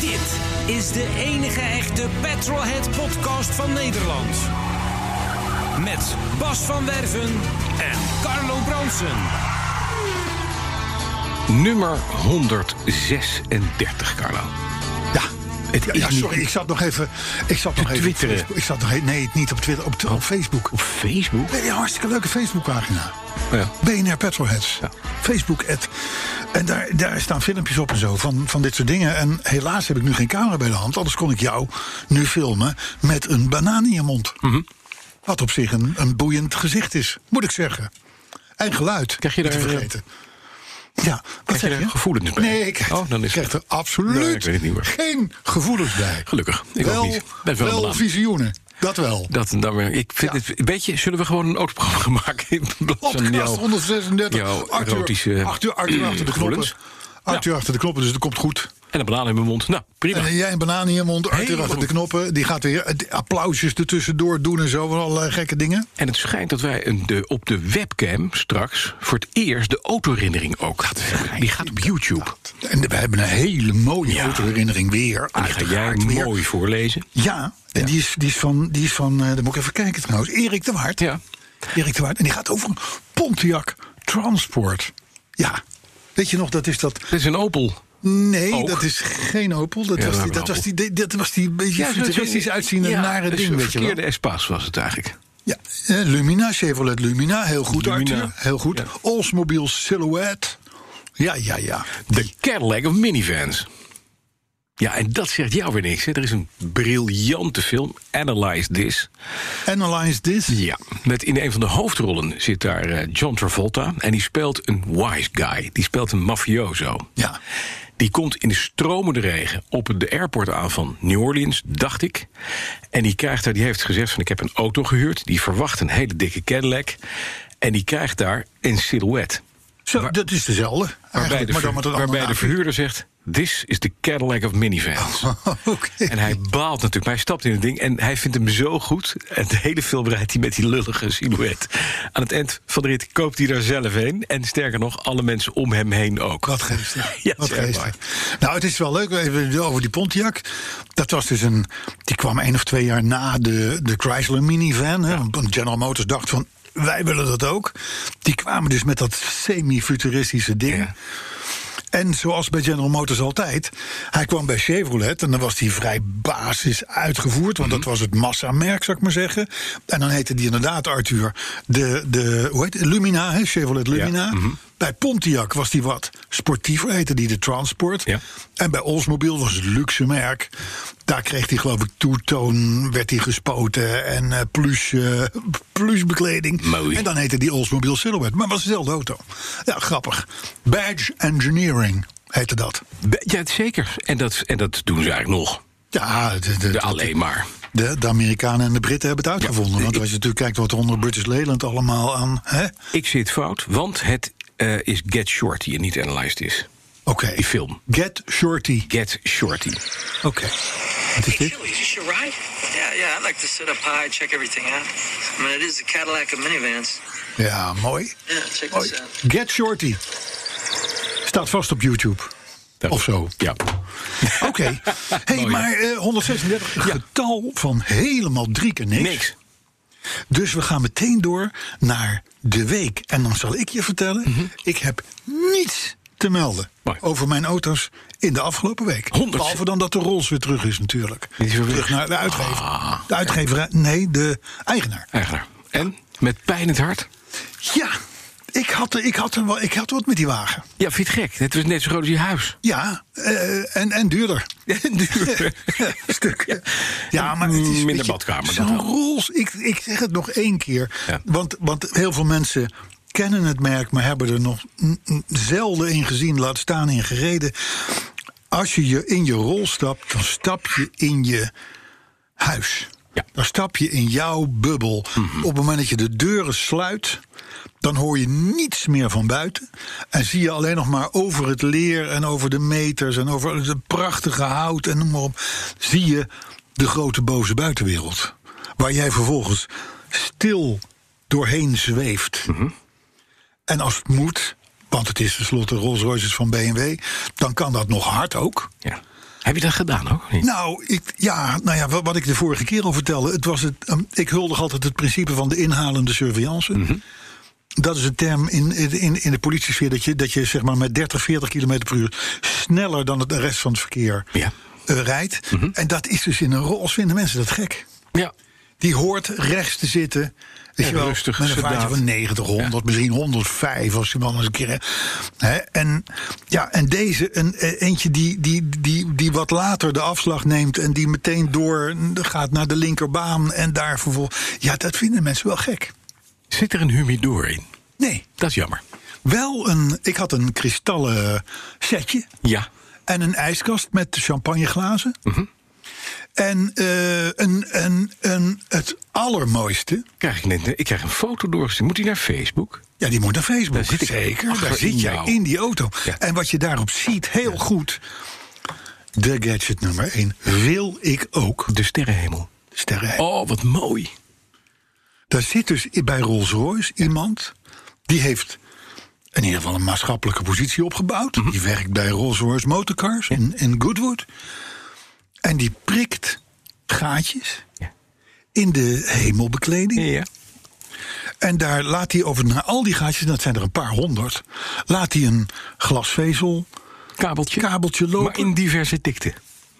Dit is de enige echte Petrolhead podcast van Nederland. Met Bas van Werven en Carlo Bronsen. Nummer 136, Carlo. Ja. Het Ja, is ja, sorry, niet- ik zat nog even. Ik zat nog even twitteren. Oh. Op Facebook. ik zat nog, e- nee, niet op Twitter, op, op Facebook. Op Facebook? Nee, een hartstikke leuke Facebookpagina. Oh Ja. BNR Petrolheads. Facebook ad. En daar, daar staan filmpjes op en zo van, van dit soort dingen. En helaas heb ik nu geen camera bij de hand. Anders kon ik jou nu filmen met een banaan in je mond. Mhm. Wat op zich een, een boeiend gezicht is, moet ik zeggen. En geluid. Krijg je niet te daar, eh, vergeten. Ja, wat je zeg daar je? gevoelens bij? Nee, ik krijg, Oh, dan is ik krijg het- er absoluut Nee, ik weet het niet meer. geen gevoelens bij. Gelukkig. Ik wel, ook niet. Best wel, een wel banaan. visioenen. Dat wel. Dat, nou, maar ik vind Ja. het een beetje. Zullen we gewoon een autoprogramma maken? In plaats van Podcast jou- 136. jouw Arthur, erotische Arthur, Arthur achter de knoppen. gevoelens. Arthur achter de knoppen, dus dat komt goed. En een banaan in mijn mond. Nou, prima. En jij een banaan in je mond, Arthur Helemaal achter de goed. knoppen. Die gaat weer eh, applausjes ertussendoor doen en zo. Van allerlei gekke dingen. En het schijnt dat wij een, de, op de webcam straks voor het eerst de autoherinnering ook hebben. Die gaat op YouTube. En we hebben een hele mooie Ja. autoherinnering weer. En die ga jij uiteraard weer. mooi voorlezen. Ja, en Die, is, die is van, die is van eh dan moet ik even kijken trouwens. Erik de Waard. Ja. Erik de Waard. En die gaat over een Pontiac Transport. Ja. Weet je nog, dat is dat Dit is een Opel. Nee, Ook. dat is geen Opel. Dat, Ja, was, we die, hebben dat, was, Opel. die, dat was die beetje futuristisch uitziende Ja, nare dus ding, Een weet je wel. verkeerde Espace was het eigenlijk. Ja, eh, Lumina, Chevrolet Lumina. Heel goed, Lumina. Arthur. Heel goed. Ja. Oldsmobile Silhouette. Ja, ja, ja. De Cadillac of minivans. Ja, en dat zegt jou weer niks. Hè? Er is een briljante film, Analyze This. Analyze This. Ja, met in een van de hoofdrollen zit daar eh, John Travolta. En die speelt een wise guy. Die speelt een mafioso. Ja. Die komt in de stromende regen op de airport aan van New Orleans, dacht ik. En die krijgt daar, die heeft gezegd van ik heb een auto gehuurd. Die verwacht een hele dikke Cadillac. En die krijgt daar een silhouette. Zo, dat is dezelfde. Waarbij, eigenlijk, de, maar dan ver- met een waarbij ander de naampje. verhuurder zegt, this is the Cadillac of minivans. Oké. En hij baalt natuurlijk. Maar hij stapt in het ding en hij vindt hem zo goed. En de hele film rijdt hij met die lullige silhouet. Aan het eind van de rit koopt hij daar zelf heen. En sterker nog, alle mensen om hem heen ook. Wat geestig. Ja, Wat zeg maar. geestig. Nou, het is wel leuk. Even over die Pontiac. Dat was dus een. Die kwam één of twee jaar na de, de Chrysler minivan. Hè, Want General Motors dacht van. Wij willen dat ook. Die kwamen dus met dat semi-futuristische ding. Ja. En zoals bij General Motors altijd, hij kwam bij Chevrolet en dan was hij vrij basis uitgevoerd, want dat was het massamerk, zou ik maar zeggen. En dan heette die inderdaad, Arthur, de, de hoe heet het? Lumina, hè? Chevrolet Lumina. Bij Pontiac was die wat sportiever, heette die de Transport. Ja. En bij Oldsmobile was het luxe merk. Daar kreeg hij geloof ik toetoon, werd hij gespoten en eh, plush, eh, plush bekleding. Mooi. En dan heette die Oldsmobile Silhouette, maar het was dezelfde auto. Ja, grappig. Badge Engineering heette dat. Be- Ja, zeker. En dat, en dat doen ze eigenlijk nog. Ja, de, de, De, alleen maar. de, de Amerikanen en de Britten hebben het uitgevonden. Ja, want ik- als je natuurlijk kijkt wat er onder British Leyland allemaal aan... Hè? Oké. Ik zit fout, want het eh, is Get Shorty en niet Analyzed is. Die film. Get Shorty. Get Shorty. Oké. Wat is Hey, dit? Chili, is this your ride? Yeah, yeah, I'd like to sit up high, check everything out. I mean, it is a Cadillac of minivans. Ja, mooi. Yeah, check mooi. this out. Get Shorty. Staat vast op YouTube. Daarom. Of zo. Ja. Oké. Hey, Mooi, hè? maar eh, 136, getal van helemaal drie keer niks. Niks. Dus we gaan meteen door naar de week. En dan zal ik je vertellen, ik heb niets te melden Mhm. Mooi. over mijn auto's in de afgelopen week. Honderd- Behalve dan dat de Rolls weer terug is natuurlijk. Die is weer weg. terug naar de uitgever. Ah. de uitgever, eh, nee, de eigenaar. Eigenaar. En? Met pijn in het hart? Ja, ik had, ik had, een, wa- ik had wat met die wagen. Ja, vind je het gek? Het was net zo groot als je huis. Ja, eh, en, en duurder. En duur. Stuk. Ja, Ja. maar het is Minder weet je, badkamer dan Zo'n wel. Rolls, ik, ik zeg het nog één keer. Ja. Want, want heel veel mensen kennen het merk, maar hebben er nog n- n- zelden in gezien, laat staan in gereden. Als je, je in je rol stapt, dan stap je in je huis. Ja. Dan stap je in jouw bubbel. Op het moment dat je de deuren sluit, dan hoor je niets meer van buiten. En zie je alleen nog maar over het leer en over de meters en over het prachtige hout en noem maar op. Zie je de grote boze buitenwereld. Waar jij vervolgens stil doorheen zweeft. En als het moet, want het is tenslotte Rolls Royces van BMW, dan kan dat nog hard ook. Ja. Heb je dat gedaan ook? of niet? Nou, ik, ja, nou ja, wat, wat ik de vorige keer al vertelde. Het was het, ehm, ik huldig altijd het principe van de inhalende surveillance. Mhm. Dat is een term in, in, in de politiesfeer dat je, dat je zeg maar met 30, 40 km per uur sneller dan het de rest van het verkeer Ja. Mhm. eh, rijdt. En dat is dus in een rols vinden mensen dat gek. ja. Die hoort rechts te zitten. Ja, Weet je wel, rustig, met een vaartje sedaat. van 90, 100, misschien 105 als je man eens een keer. Hè, en, ja, en deze, een, eh, eentje die, die, die, die wat later de afslag neemt en die meteen door gaat naar de linkerbaan en daar vervolgens. Ja, dat vinden mensen wel gek. Zit er een humidor in? Nee, Dat is jammer. wel een. Ik had een kristallen setje Ja. en een ijskast met champagneglazen. Mhm. En eh, een, een, een, het allermooiste. Krijg ik, net, ik krijg een foto doorgestuurd. Moet die naar Facebook? Ja, die moet naar Facebook. Daar zit ik Zeker, achter daar in zit jij jou. in die auto. Ja. En wat je daarop ziet, heel goed. De gadget nummer 1. Wil ik ook De sterrenhemel. sterren? Oh, wat mooi. Daar zit dus bij Rolls-Royce iemand die heeft in ieder geval een maatschappelijke positie opgebouwd. Mhm. Die werkt bij Rolls-Royce Motorcars in, in Goodwood. En die prikt gaatjes Ja. in de hemelbekleding. Ja. En daar laat hij over naar al die gaatjes, en dat zijn er een paar honderd, laat hij een glasvezel, Kabeltje. kabeltje lopen. Maar in diverse dikte.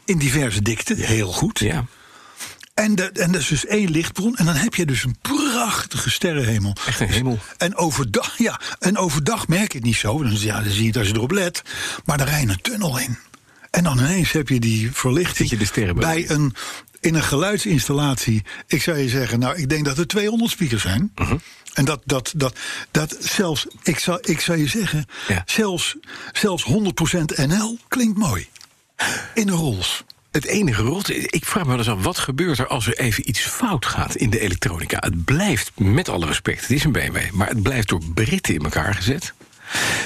in diverse dikte, heel goed. Ja. En, de, en dat is dus één lichtbron. En dan heb je dus een prachtige sterrenhemel. Dus, Echt een hemel. En overdag, ja, en overdag merk je het niet zo. Dan, ja, dan zie je het als je erop let. Maar daar rijdt een tunnel in. En dan ineens heb je die verlichting. Zit je de sterren bij een, In een geluidsinstallatie. Ik zou je zeggen, nou, ik denk dat er 200 speakers zijn. Mhm. En dat, dat, dat, dat zelfs, ik zou, ik zou je zeggen, Ja. zelfs, zelfs 100% NL klinkt mooi. In de Rolls. Het enige rot, ik vraag me wel eens af, wat gebeurt er als er even iets fout gaat in de elektronica? Het blijft, met alle respect, het is een BMW, maar het blijft door Britten in elkaar gezet.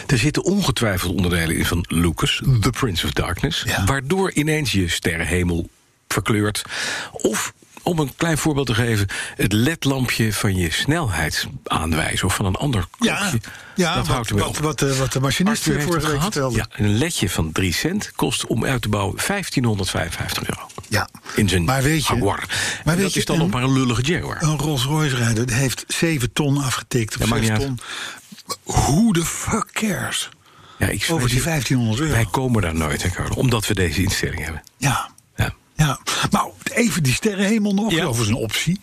Er zitten ongetwijfeld onderdelen in van Lucas, The Prince of Darkness, Ja. waardoor ineens je sterrenhemel verkleurt. Of, om een klein voorbeeld te geven, het ledlampje van je snelheidsaanwijzer of van een ander Ja, klokje, ja dat wat, houdt ermee wat, op. wat, eh, wat de machinist Arthur heeft vorige het week gehad. vertelde. Ja, een ledje van 3 cent kost om uit te bouwen 1555 euro. Ja. In zijn Maar weet je- Jaguar. maar Maar weet dat je, Oh, is dan een- nog maar een lullige Jaguar. Een Rolls-Royce-rijder die heeft 7 ton afgetikt. Of Ja, maakt 6 niet ton. Hoe de fuck cares? ja, ik zweer Over die je, 1500 euro. Wij komen daar nooit, hè, Carlo, omdat we deze instelling hebben. Ja. Ja. Ja, nou, even die sterrenhemel nog, Ja. ja. overigens een optie.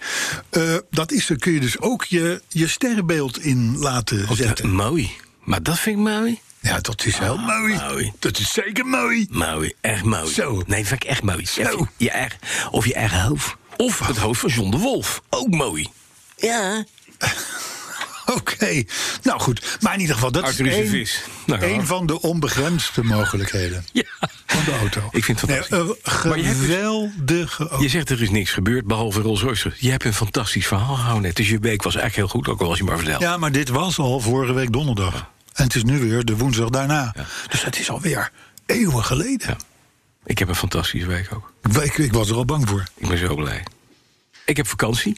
Eh, dat is, dan kun je dus ook je, je sterrenbeeld in laten Op de- zetten. mooi. Maar dat vind ik mooi. Ja, dat is heel mooi. mooi. Dat is zeker mooi. Mooi, echt mooi. Zo. Nee, vind ik echt mooi. Zo. Je eigen, of je eigen hoofd. Of het hoofd van John de Wolf. Ook mooi. Ja. Oké, nou goed. Maar in ieder geval, dat Arthur is is een één- vis. Nou ja. één van de onbegrensde mogelijkheden. Ja. van de auto. Ik vind het Nee, fantastisch. eh, Maar je hebt dus- geweldige auto. Je zegt er is niks gebeurd, behalve Rolls Royce. Je hebt een fantastisch verhaal gehouden net. Dus je week was eigenlijk heel goed, ook al was je maar verteld. Ja, maar dit was al vorige week donderdag. En het is nu weer de woensdag daarna. Dus het is alweer eeuwen geleden. Ik heb een fantastische week ook. Ik, ik was er al bang voor. Ik ben zo blij. Ik heb vakantie.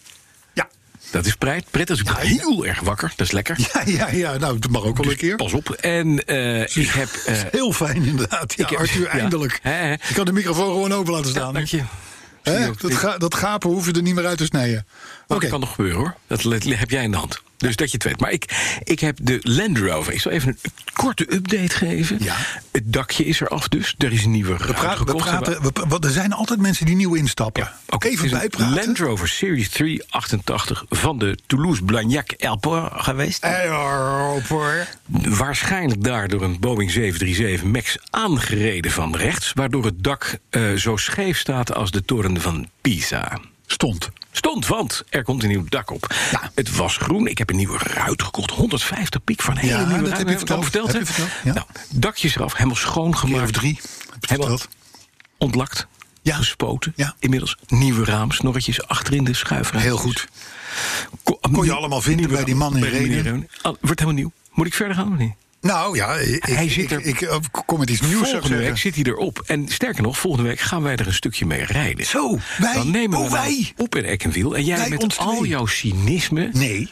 Ja. Dat is pret. Pret is ook heel erg wakker. Dat is lekker. Ja, ja, ja. Nou, dat mag ook wel een keer. Dus Pas op. En eh, ik heb... eh, Heel fijn inderdaad. Ja, Ik heb- Arthur, ja. eindelijk. Hè, hè. Je kan de microfoon gewoon open laten staan. dank je. Hè? Zie je ook. dat, Ik- ga, dat gapen hoef je er niet meer uit te snijden. Maar Oké. Dat kan nog gebeuren hoor. Dat le- heb jij in de hand. Dus dat je het weet. Maar ik, ik heb de Land Rover. Ik zal even een korte update geven. Ja. Het dakje is eraf dus. Er is een nieuwe We, ruimte praten- we gekocht. praten, we, pra- want er zijn altijd mensen die nieuw instappen. Oké, Even het is een bijpraten. Land Rover Series 388 van de Toulouse Blagnac Airport geweest. Eh, hoor. Waarschijnlijk daar door een Boeing 737 MAX aangereden van rechts... waardoor het dak eh, zo scheef staat als de toren van Pisa. Stond. Stond, want er komt een nieuw dak op. Ja. Het was groen. Ik heb een nieuwe ruit gekocht. 150 piek van een hele Ja, nieuwe dat ruit. heb je het al verteld. hè? Heb je verteld, ja. Nou, dakjes eraf. Helemaal Keer schoongemaakt. of drie. Heb je Helemaal verteld. ontlakt. Ja. Gespoten. Ja. Inmiddels nieuwe raamsnorretjes achterin de schuifruimtes. Heel goed. Ko- Kon je allemaal vinden nieuwe bij die man in bij die meneer Renen? Renen. Al- wordt helemaal nieuw. Moet ik verder gaan of niet? Nou ja, ik, Hij ik- zit er- ik, ik, eh, kom met iets nieuws. zou ik volgende week zeggen. zit hij erop. En sterker nog, volgende week gaan wij er een stukje mee rijden. Zo, wij? Dan nemen we hem Oh, wij? op in Eckenwiel. En jij Wij ons met al twee. jouw cynisme... Nee.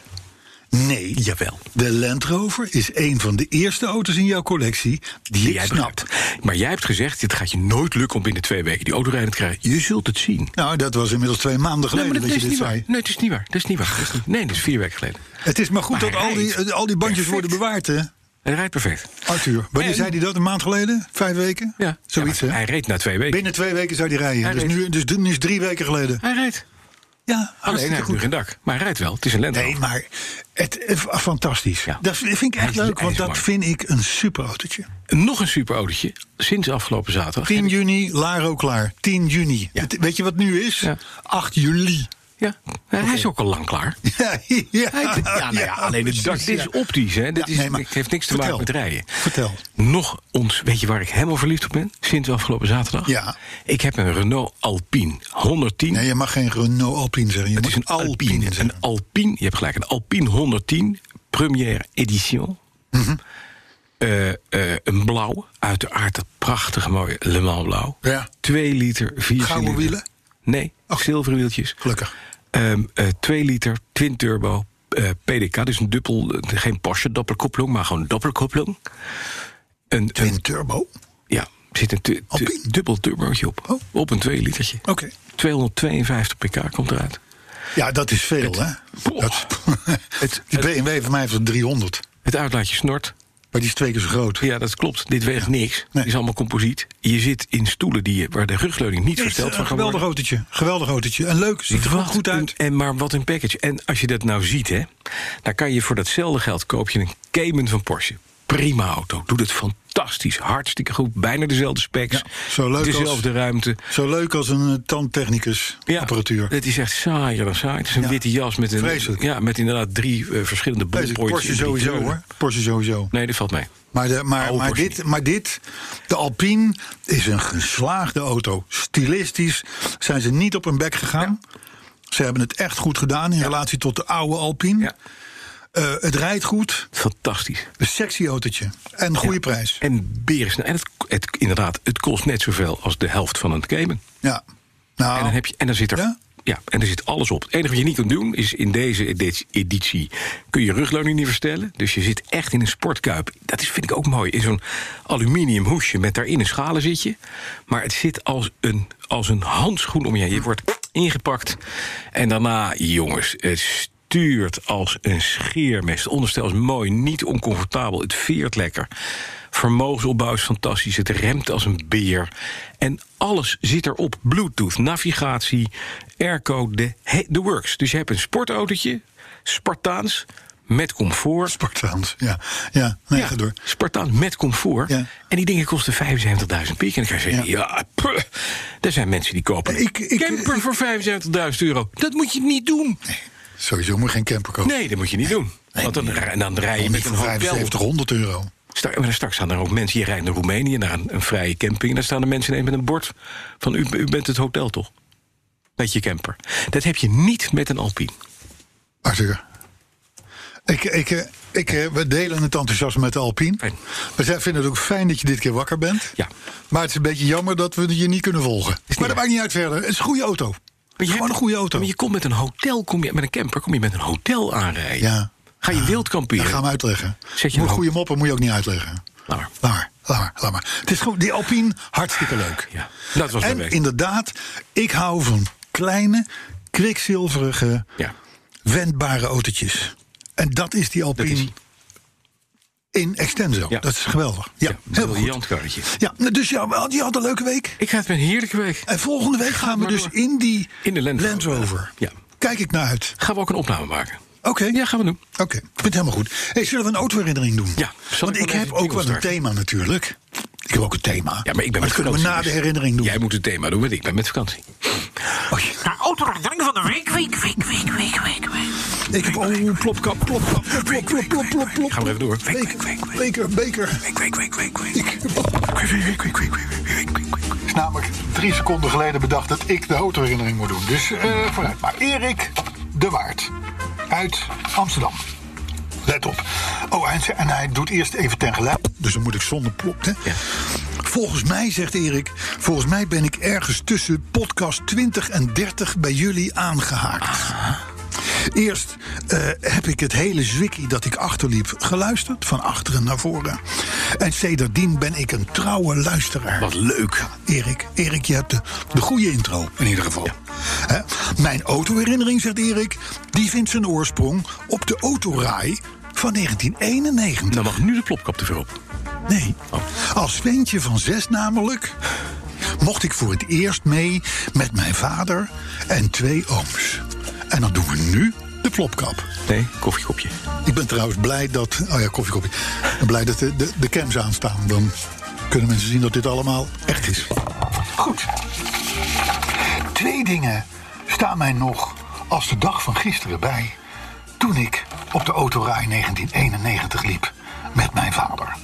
Nee. Jawel. De Land Rover is een van de eerste auto's in jouw collectie die, Die ik jij snap. snapt. Maar jij hebt gezegd, dit gaat je nooit lukken om binnen twee weken die auto rijden te krijgen. Je zult het zien. Nou, dat was inmiddels twee maanden Nee, geleden maar dat, dat, is je dit niet waar. zei. Nee, dat is niet waar. Dat is niet waar. Dat is niet- Nee, dat is vier weken geleden. Het is maar goed Maar dat al die, rijdt. eh, al die bandjes Perfect. worden bewaard, hè? Hij rijdt perfect. Arthur, wanneer En- zei hij dat? Een maand geleden? Vijf weken? Ja. Zoiets, Ja, maar hè? Hij reed na twee weken. Binnen twee weken zou hij rijden. Hij dus, reed. nu, dus nu is drie weken geleden. Hij reed. Ja, Alleen hij hartstikke heeft nu goed. geen dak. Maar hij rijdt wel. Het is een lente. Nee, maar het, eh, f- fantastisch. Ja. Dat vind ik Hij echt is- leuk, hij want is dat mooi. vind ik een super autootje. Nog een super autootje. Sinds afgelopen zaterdag. 10 juni, Laro klaar. 10 juni. Ja. Het- weet je wat nu is? Ja. 8 juli. Ja, hij is ook al lang klaar. Ja, ja, Hij- ja, nou ja, alleen het dak precies, dit is ja. optisch. Hè. Dit Ja, is, nee, maar het heeft niks te vertel. maken met rijden. Vertel. Nog ons, weet je waar ik helemaal verliefd op ben? Sinds afgelopen zaterdag. Ja. Ik heb een Renault Alpine 110. Nee, je mag geen Renault Alpine zeggen. Je het moet is een Alpine. zeggen. een Alpine, je hebt gelijk, een Alpine 110, première edition. Mhm. Eh, eh, een blauw, uiteraard dat prachtige mooie Le Mans blauw. Ja. 2 liter, 4 Gouden wielen? Nee, Ach. zilveren wieltjes. Gelukkig. Ehm, eh, 2 liter, twin turbo, eh, PDK. Dus een dubbel, eh, geen Porsche doppelkoppeling, maar gewoon doppelkoppeling. Een, een- Twin turbo. ja, er zit een tu- tu- Alpine? dubbel turbootje op. Oh. Op een 2 litertje. Oké. 252 pk komt eruit. Ja, dat is veel, hè? Boah. Dat, Het- die BMW van mij heeft er 300. Het uitlaatje snort. Maar die is twee keer zo groot. Ja, dat klopt. Dit weegt niks. Het Nee. is allemaal composiet. Je zit in stoelen die je, waar de rugleuning niet Het is versteld een van gaat geweldig worden. autootje. Geweldig autootje. En leuk, ziet er gewoon Wat goed een- uit. en maar wat een package. En als je dat nou ziet, hè, dan kan je voor datzelfde geld koop je een Cayman van Porsche. Prima auto. Doet het fantastisch. Hartstikke goed. Bijna dezelfde specs. Ja, zo leuk als- Dezelfde ruimte. Zo leuk als een eh, tandtechnicus apparatuur. Het is echt saaier dan saai. Het is een Ja. witte jas met, een, Vreselijk. ja, met inderdaad drie eh, verschillende Deze bullet points. Porsche in drie sowieso, kleuren. hoor. Porsche sowieso. Nee, dat valt mee. Maar, de, maar, Oude maar, Porsche dit, maar dit, de Alpine is een geslaagde auto. Stilistisch zijn ze niet op hun bek gegaan. Ze hebben het echt goed gedaan in relatie tot de oude Alpine. Ja. Eh, het rijdt goed, Fantastisch. een sexy autootje en een goede prijs. En berensnel. En het, het, inderdaad, het kost net zoveel als de helft van een Cayman. Ja. Nou, En dan, heb je, en dan zit er. Ja? Ja? en er zit alles op. Het enige wat je niet kunt doen is in deze edi- editie. kun je je rugleuning niet verstellen. Dus je zit echt in een sportkuip. Dat is, vind ik ook mooi. In zo'n aluminium hoesje met daarin een schalen zit je. Maar het zit als een, als een handschoen om je heen. Je wordt ingepakt. En daarna, jongens, het stuurt als een scheermest. Het onderstel is mooi, niet oncomfortabel. Het veert lekker. Vermogensopbouw is fantastisch. Het remt als een beer. En alles zit erop. Bluetooth, navigatie, airco, de, he- de works. Dus je hebt een sportautootje, Spartaans, met comfort. Spartaans. Ja, ja. nee, Ja, ga door. Spartaans met comfort. Ja. En die dingen kosten 75.000 piek. En dan ga je zeggen, ja, puh. er zijn mensen die kopen een Ik- ik- camper voor 75.000 euro. Dat moet je niet doen. Sowieso moet je geen camper kopen. Nee, dat moet je niet doen. Want dan, en dan rij je Niet met een voor hotel 7500 euro. Stra- maar dan straks staan er ook mensen. Je rijdt naar Roemenië, naar een, een vrije camping. En dan staan er mensen ineens met een bord van... U, u bent het hotel, toch? Met je camper. Dat heb je niet met een Alpine. Arthur. Ah, Ik, ik, eh, ik, eh, we delen het enthousiasme met de Alpine. Fijn. We zijn, vinden het ook fijn dat je dit keer wakker bent. Ja. Maar het is een beetje jammer dat we je niet kunnen volgen. maar dat waar. maakt niet uit verder. Het is een goede auto. Maar je Gewoon hebt- een goede auto. Maar je komt met een hotel, kom je, met een camper, kom je met een hotel aanrijden. Ja. Ga je wild Dat kamperen. gaan we uitleggen. Zet je Moet nou- goede moppen moet je ook niet uitleggen. Laat maar. Laat maar, laat maar, laat maar. Het is goed. Die Alpine, hartstikke leuk. Ja, dat was mijn en week. inderdaad, ik hou van kleine, kwikzilverige, Ja. wendbare autootjes. En dat is die Alpine Dat is- in extenso. Ja. Dat is geweldig. Ja, Ja, heel goed. briljant karretje. Ja, nou, dus ja, wel, je had een leuke week. Ik ga het met een heerlijke week. En volgende week gaan we maar dus door. in die In de Land Rover. Ja. Ja. Kijk ik naar uit. Gaan we ook een opname maken? Oké. Ja, gaan we doen. Oké, ik vind het helemaal goed. Hey, zullen we een autoherinnering doen? Ja, zal Want ik ik maar heb even ook wel een starten? thema natuurlijk. Ik heb ook een thema. Ja, maar ik ben met dat kunnen we vakantie, na de dus herinnering doen. Jij moet het thema doen, want ik ben met vakantie. Oh, ja. De autoherinnering van de week Quick, quick, quick, quick, quick, quick. Ik heb. Oh, plopkap, plopkap. Plop, plop, plop, plop, plop, plop. Gaan we even door. Beker, beker, beker. Quick, quick, quick, quick. Ik is namelijk drie seconden geleden bedacht dat ik de autoherinnering moet doen. Dus eh, vooruit. Maar Erik de Waard uit Amsterdam. Let op. Oh, en, ze- en hij doet eerst even ten geluid. Dus dan moet ik zonder plop, hè? Volgens mij, zegt Erik, volgens mij ben ik ergens tussen podcast 20 en 30 bij jullie aangehaakt. Eerst eh, heb ik het hele zwikkie dat ik achterliep geluisterd, van achteren naar voren. En sedertdien ben ik een trouwe luisteraar. Wat leuk. Erik, Erik, je hebt de, de goede intro in ieder geval. Hè? Mijn autoherinnering, zegt Erik, die vindt zijn oorsprong op de autorij van 1991. Dan mag nu de plopkap te ver op. Nee. Oh. Als ventje van zes namelijk mocht ik voor het eerst mee met mijn vader en twee ooms. En dan doen we nu de plopkap. Nee, koffiekopje. Ik ben trouwens blij dat. Oh ja, koffie, koffie. Ik ben blij dat de, de, de cams aanstaan. Dan kunnen mensen zien dat dit allemaal echt is. Goed. Twee dingen staan mij nog als de dag van gisteren bij. Toen ik op de autorij 1991 liep met mijn vader.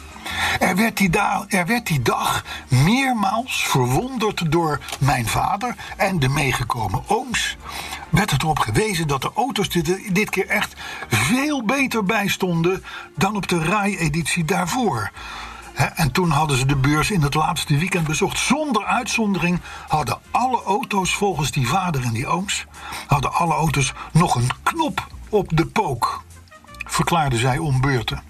Er werd, die da- er werd die dag meermaals verwonderd door mijn vader en de meegekomen ooms. Werd het erop gewezen dat de auto's dit, dit keer echt veel beter bijstonden dan op de RAI-editie daarvoor. Hè, En toen hadden ze de beurs in het laatste weekend bezocht. Zonder uitzondering hadden alle auto's, volgens die vader en die ooms, hadden alle auto's nog een knop op de pook, verklaarden zij om beurten.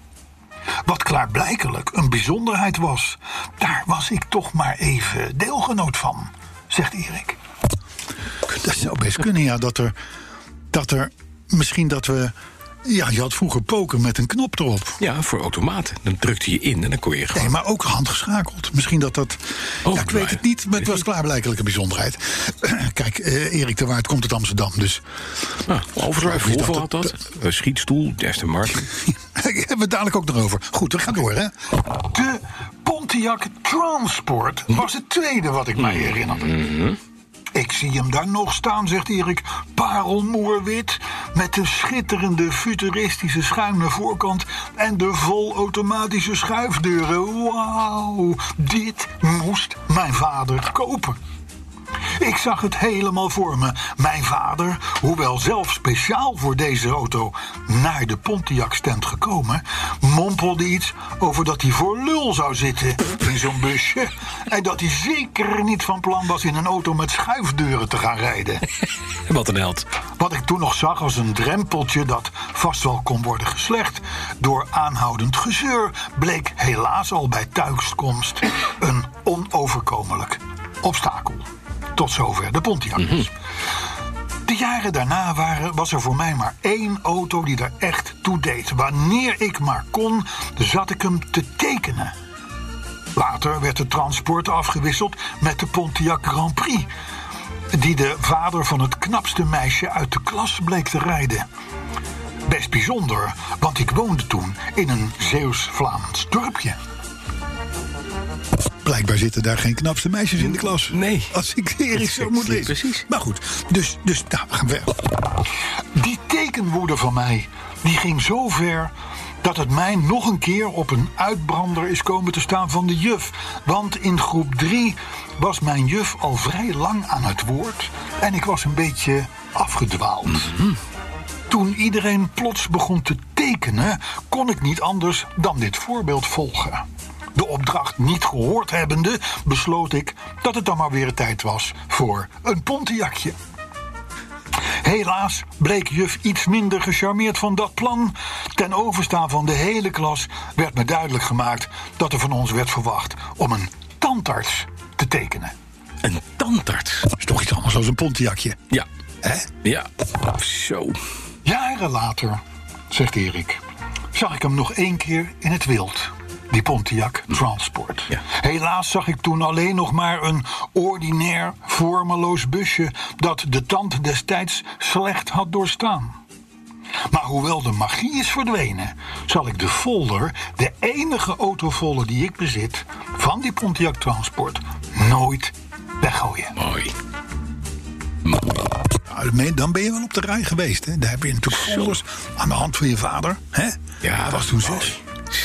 Wat klaarblijkelijk een bijzonderheid was. Daar was ik toch maar even deelgenoot van, zegt Erik. Dat zou best kunnen, ja, dat er, dat er misschien dat we. Ja, je had vroeger poken met een knop erop. Ja, voor automaten. Dan drukte je in en dan kon je gewoon... Nee, maar ook handgeschakeld. Misschien dat dat. Oh, ja, ik weet maar- het niet, maar het was klaarblijkelijk een bijzonderheid. Kijk, eh, Erik de Waard komt uit Amsterdam, dus. Ah, Overdrive, Is dat Volvo het- had dat. Een schietstoel, Aston Martin. Hebben we het dadelijk ook nog over. Goed, we gaan door, hè? De Pontiac Transport was het tweede wat ik mij herinnerde. Ik zie hem daar nog staan, zegt Erik. Parelmoerwit. Met de schitterende futuristische schuine voorkant. En de volautomatische schuifdeuren. Wauw, dit moest mijn vader kopen. Ik zag het helemaal voor me. Mijn vader, hoewel zelf speciaal voor deze auto naar de Pontiac-stand gekomen, mompelde iets over dat hij voor lul zou zitten in zo'n busje. En dat hij zeker niet van plan was in een auto met schuifdeuren te gaan rijden. Wat een held. Wat ik toen nog zag als een drempeltje dat vast wel kon worden geslecht door aanhoudend gezeur, bleek helaas al bij thuiskomst een onoverkomelijk obstakel. Tot zover de Pontiac. dus. De jaren daarna waren, was er voor mij maar één auto die er echt toe deed. Wanneer ik maar kon, zat ik hem te tekenen. Later werd de transport afgewisseld met de Pontiac Grand Prix. Die de vader van het knapste meisje uit de klas bleek te rijden. Best bijzonder, want ik woonde toen in een Zeeuws-Vlaams dorpje. Blijkbaar zitten daar geen knapste meisjes in de klas. Nee. Als ik Erik zo moet lezen. Precies. Maar goed, dus, dus nou, we gaan verder. Die tekenwoede van mij, die ging zo ver dat het mij nog een keer op een uitbrander is komen te staan van de juf. Want in groep 3 was mijn juf al vrij lang aan het woord en ik was een beetje afgedwaald. Toen iedereen plots begon te tekenen, kon ik niet anders dan dit voorbeeld volgen. De opdracht niet gehoord hebbende, besloot ik dat het dan maar weer tijd was voor een Pontiacje. Helaas bleek juf iets minder gecharmeerd van dat plan. Ten overstaan van de hele klas werd me duidelijk gemaakt dat er van ons werd verwacht om een tandarts te tekenen. Een tandarts. Dat is toch iets anders dan een Pontiacje, Ja. hè? Ja. Zo. Jaren later, zegt Erik, zag ik hem nog één keer in het wild. Die Pontiac Transport. Ja. Helaas zag ik toen alleen nog maar een ordinair, vormeloos busje dat de tand destijds slecht had doorstaan. Maar hoewel de magie is verdwenen, zal ik de folder, de enige autofolder die ik bezit, van die Pontiac Transport nooit weggooien. Mooi. Nou, dan ben je- dan ben je wel op de rij geweest. Hè? Daar heb je natuurlijk Zo. folders aan de hand van je vader. Hè? Hij was toen zes. mooi.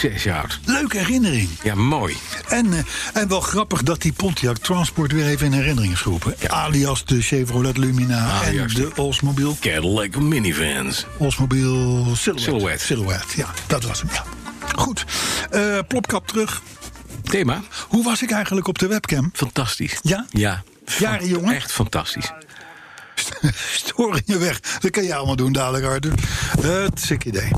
Zes jaar oud. Leuke herinnering. Ja, mooi. En, eh, en wel grappig dat die Pontiac Transport weer even in herinnering is geroepen. Alias de Chevrolet Lumina Ah, en juist. de Oldsmobile. Cadillac minivans. Oldsmobile Silhouette. Silhouette. Silhouette, ja, dat was hem. Ja. Goed, Eh, plopkap terug. Thema? Hoe was ik eigenlijk op de webcam? Fantastisch. Ja? Ja. Jaren Fan- jongen. Echt fantastisch. Storingen weg. Dat kan jij allemaal doen dadelijk, Arthur. Het sick idee.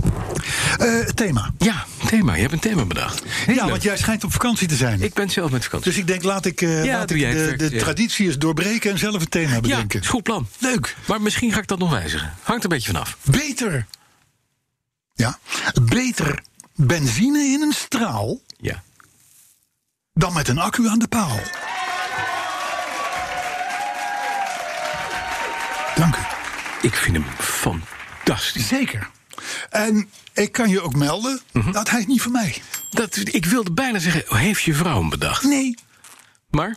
Eh, thema. Ja, thema. Je hebt een thema bedacht. Heel ja, leuk. want jij schijnt op vakantie te zijn. Ik ben zelf met vakantie. Dus ik denk, laat ik, eh, Ja, laat doe ik jij het de, werk, de ja. traditie eens doorbreken en zelf een thema ja, bedenken. is goed plan. Leuk. Maar misschien ga ik dat nog wijzigen. Hangt een beetje vanaf. Beter. Ja, beter benzine in een straal Ja. dan met een accu aan de paal. Dank u. Ik vind hem fantastisch. Zeker. En ik kan je ook melden, Mhm. dat hij is niet van mij. Dat, ik wilde bijna zeggen, heeft je vrouw hem bedacht? Nee, Maar,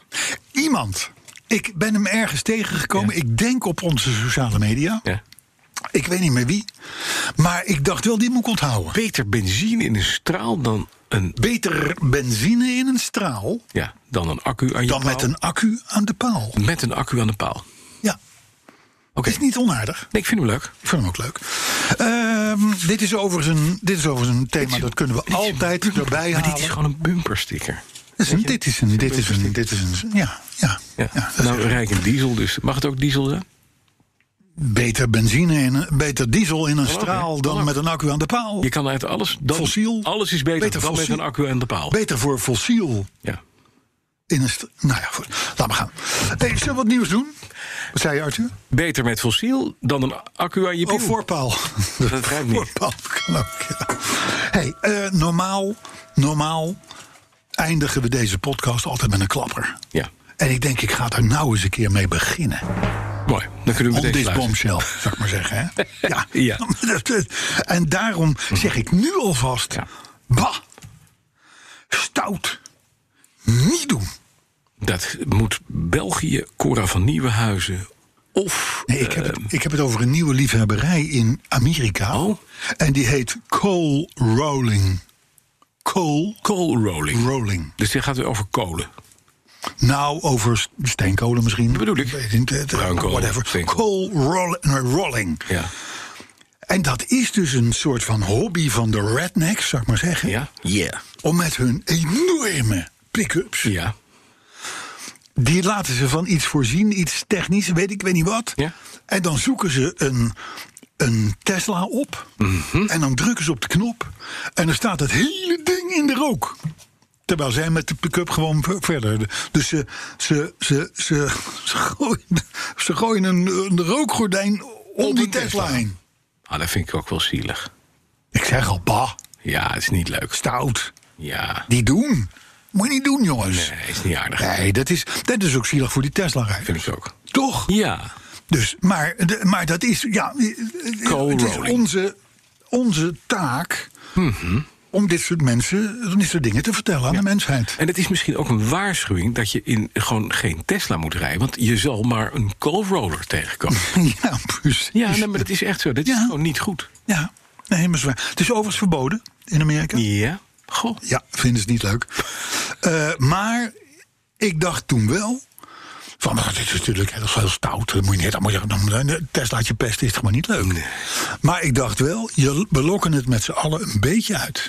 iemand. Ik ben hem ergens tegengekomen. Ja. Ik denk op onze sociale media. ja. Ik weet niet meer wie. Maar ik dacht wel, die moet ik onthouden. beter benzine in een straal dan een, Beter benzine in een straal ja, dan een accu aan je dan paal. met een accu aan de paal. met een accu aan de paal. Ja, Oké. is niet onaardig. Nee, ik vind hem leuk. Ik vind hem ook leuk. Ehm, dit, is overigens een, dit is overigens een thema, dat kunnen we altijd erbij Maar halen. dit is gewoon een bumpersticker. Dit is een, dit is een, dit is een, dit is een- ja, ja. Ja. ja. nou, rijk in diesel dus. Mag het ook diesel zijn? Beter benzine in, een- beter diesel in een ook, straal hè? Kan dan ook. met een accu aan de paal. Je kan uit alles... Dan, Fossiel. Alles is beter, Beter dan fossiel. met een accu aan de paal. Beter voor fossiel Ja. in een stra- Nou ja, goed. laat maar gaan. Hey, zullen we wat nieuws doen? Wat zei je, Arthur? Beter met fossiel dan een accu aan je Oh, piel. voorpaal. Dat ruikt niet. Voorpaal kan ook, ja. Hey, eh, normaal, normaal eindigen we deze podcast altijd met een klapper. Ja, En ik denk, ik ga daar nou eens een keer mee beginnen. mooi. Dan kunnen we Op meteen dit sluiten. bombshell, zou ik maar zeggen. Hè? Ja. Ja. En daarom zeg ik nu alvast... Ja. Bah, stout, niet doen. Dat moet België, Cora van Nieuwenhuizen of... Nee, ik heb, het, ik heb het over een nieuwe liefhebberij in Amerika. Ehm. Oh. En die heet coal rolling. Coal Coal rolling. rolling. Dus dit gaat weer over kolen. Nou, over s- steenkolen misschien. Dat bedoel ik. Bruinkool, eh, Whatever. steenkool. Coal roll- eh, nee, rolling. Ja. En dat is dus een soort van hobby van de rednecks, zou ik maar zeggen. Ja? Yeah. Om met hun enorme pick-ups. Ja. Die laten ze van iets voorzien, iets technisch, weet ik, weet niet wat. Ja. En dan zoeken ze een, een Tesla op. Mhm. En dan drukken ze op de knop. En dan staat het hele ding in de rook. Terwijl zij met de pick-up gewoon ver- verder. Dus ze, ze, ze, ze, ze gooien, ze gooien een, een rookgordijn om Op die een Tesla Tesla. heen. Ah, dat vind ik ook wel zielig. Ik zeg al, bah, Ja, het is niet leuk. stout. Ja. Die doen. Moet je niet doen, jongens. Nee, is niet aardig. Nee, dat is, dat is ook zielig voor die Tesla-rijder. Vind ik ook. Toch? Ja. Dus, maar, de- maar dat is, ja, eh, Coal het is rolling. onze, onze taak Mhm. om dit soort mensen, om dit soort dingen te vertellen aan de mensheid. En het is misschien ook een waarschuwing dat je in gewoon geen Tesla moet rijden. Want je zal maar een coal roller tegenkomen. ja, precies. Ja, nee, maar dat is echt zo. Dat is Ja. gewoon niet goed. Ja, nee, maar zwaar. Het is overigens verboden in Amerika. Ja. Goh. Ja, vinden ze niet leuk. Eh, maar ik dacht toen wel. Van, maar dit is natuurlijk heel, heel stout. Dat moet je niet allemaal zeggen. dan- dan- Teslaatje pesten is toch maar niet leuk. Maar ik dacht wel, je, we lokken het met z'n allen een beetje uit.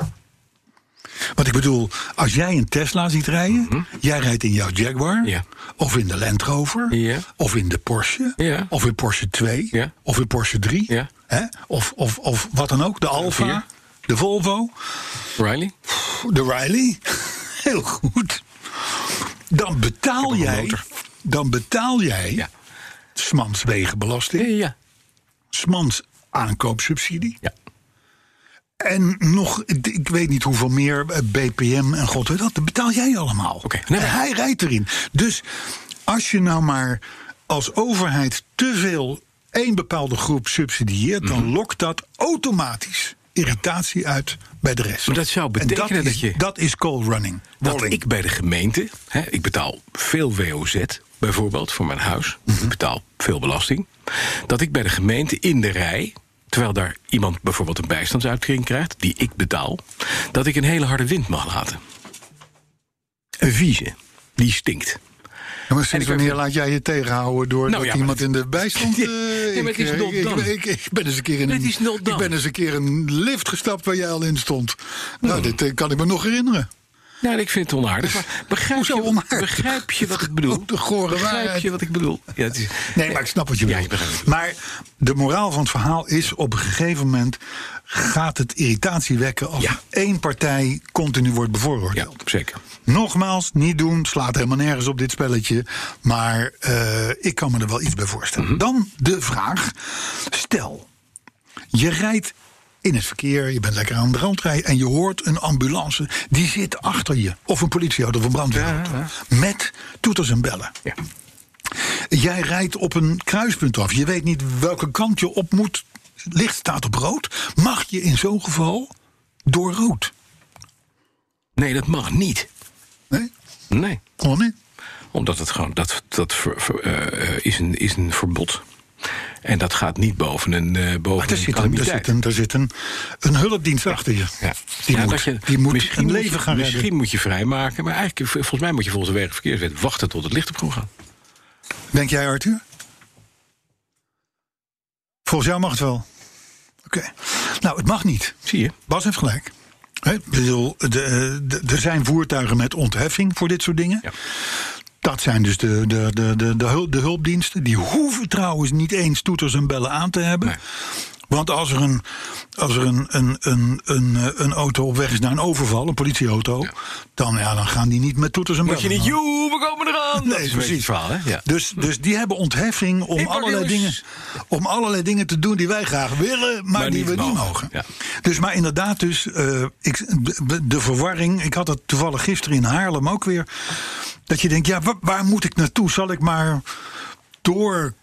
Want ik bedoel, als jij een Tesla ziet rijden. Jij rijdt in jouw Jaguar. Mhm. Ja. Of in de Land Rover. Ja. Of in de Porsche. Ja. Of in Porsche 2. Ja. Of in Porsche 3. Ja. Hè? Of, of, of wat dan ook. De Alfa. vier. De Volvo Riley? de Riley. Heel goed. Dan betaal Ik heb nog een jij. motor. Dan betaal jij. Ja. Smans wegenbelasting. Ja, ja. Smans aankoopsubsidie. Ja. En nog, ik- ik weet niet hoeveel meer, eh, BPM en god weet dat. Dat betaal jij allemaal. Oké. En hij rijdt erin. Dus als je nou maar als overheid te veel één bepaalde groep subsidieert... Mhm. dan lokt dat automatisch irritatie uit bij de rest. Maar dat zou En betekenen dat, dat is, je- Dat is coal running. Dat Rolling. ik bij de gemeente, hè, ik betaal veel WOZ bijvoorbeeld, voor mijn huis. Mhm. Ik betaal veel belasting. Dat ik bij de gemeente in de rij, terwijl daar iemand bijvoorbeeld een bijstandsuitkering krijgt, die ik betaal, dat ik een hele harde wind mag laten. Een vieze. Die stinkt. Ja, maar sinds ik wanneer ben- laat jij je tegenhouden door Nou dat ja, iemand maar- in de bijstand... eh, Nee, maar het ik, is eh, not ik- done. ik, ik ben eens een keer in Het een, is not ik done. ben eens een keer een lift gestapt waar jij al in stond. Nou, Hmm. dit eh, kan ik me nog herinneren. Nou, ik vind het onaardig. Maar begrijp, Hoezo je, onaardig? begrijp je wat ik bedoel? De gore begrijp waarheid. je wat ik bedoel? Ja, het is, Nee, maar ik snap wat je Ja, bedoelt. je begrijpt het. maar de moraal van het verhaal is: op een gegeven moment gaat het irritatie wekken als Ja. één partij continu wordt Ja, bevooroordeeld. zeker. Nogmaals, niet doen, slaat helemaal nergens op dit spelletje. Maar eh, ik kan me er wel iets bij voorstellen. Dan de vraag: stel, je rijdt in het verkeer, je bent lekker aan het rondrijden en je hoort een ambulance die zit achter je, of een politieauto of een brandweerauto, met toeters en bellen. Ja. Jij rijdt op een kruispunt af. Je weet niet welke kant je op moet. Licht staat op rood. Mag je in zo'n geval door rood? Nee, dat mag niet. Nee? Nee. Gewoon niet. Omdat het gewoon, dat, dat ver- ver- eh, eh, is, een, is een verbod. En dat gaat niet boven een, eh boven Maar er een zit, een, er calamiteit. zit, een, er zit een, een hulpdienst achter je. Ja. Die, Ja, moet, dat je- die moet misschien een moet leven je- gaan Misschien redden. moet je vrijmaken, maar eigenlijk, v- volgens mij moet je volgens de wegenverkeerswet wachten tot het licht op groen gaat. Denk jij, Arthur? Volgens jou mag het wel. Oké. Nou, het mag niet. Zie je? Bas heeft gelijk. Hè, ik bedoel, de, de- er zijn voertuigen met ontheffing voor dit soort dingen. Ja. Dat zijn dus de, de, de, de, de, hul- de hulpdiensten. Die hoeven trouwens niet eens toeters en bellen aan te hebben. Nee. Want als er, een, als er een, een, een, een, eh, een auto op weg is naar een overval, een politieauto, Dan, ja, dan gaan die niet met toeters en Moet bellen. je niet, aan. joe, we komen eraan! Oh, dat is Nee, een beetje precies. het verhaal, hè? Ja. Dus, dus die hebben ontheffing om Hip, hop, allerlei, dingen, jongens. om allerlei dingen te doen die wij graag willen, maar, Maar die niet we niet mogen. mogen. Ja. Dus maar inderdaad, dus, eh, ik, de- de verwarring. Ik had het toevallig gisteren in Haarlem ook weer. Dat je denkt, ja, wa- waar, moet ik naartoe? Zal ik maar doorrijden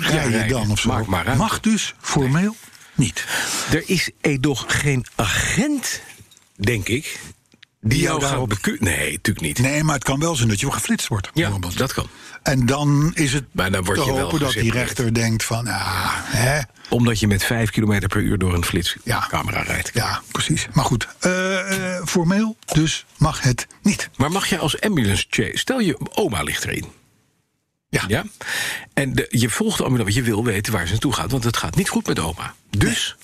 rijden. dan of zo? Maak maar ruimte. Mag dus formeel niet. Er is edoch geen agent, denk ik, die jou jou gaat daarop- beku- Nee, natuurlijk niet. Nee, maar het kan wel zijn dat je geflitst wordt. ja, bijvoorbeeld. dat kan. En dan is het Maar dan word te je wel hopen dat die gesepareerd. rechter denkt van, ah, hè, Omdat je met 5 km per uur door een Ja. flitscamera rijdt. Ja, precies. Maar goed, eh, eh, formeel dus mag het niet. Maar mag je als ambulance chase... Stel je oma ligt erin. Ja. Ja? En de- je volgt de ambulance, want je wil weten waar ze naartoe gaat. Want het gaat niet goed met oma. Dus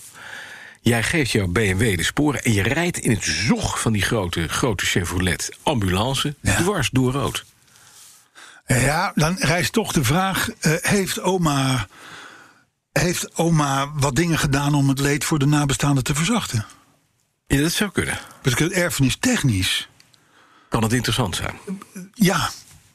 jij geeft jouw BMW de sporen... en je rijdt in het zog van die grote, grote Chevrolet ambulance... Ja. dwars door rood. Ja, dan rijst toch de vraag, eh, heeft oma... Heeft oma wat dingen gedaan om het leed voor de nabestaanden te verzachten? Ja, dat zou kunnen. Dus ik- erfenis technisch. Kan het interessant zijn? Ja,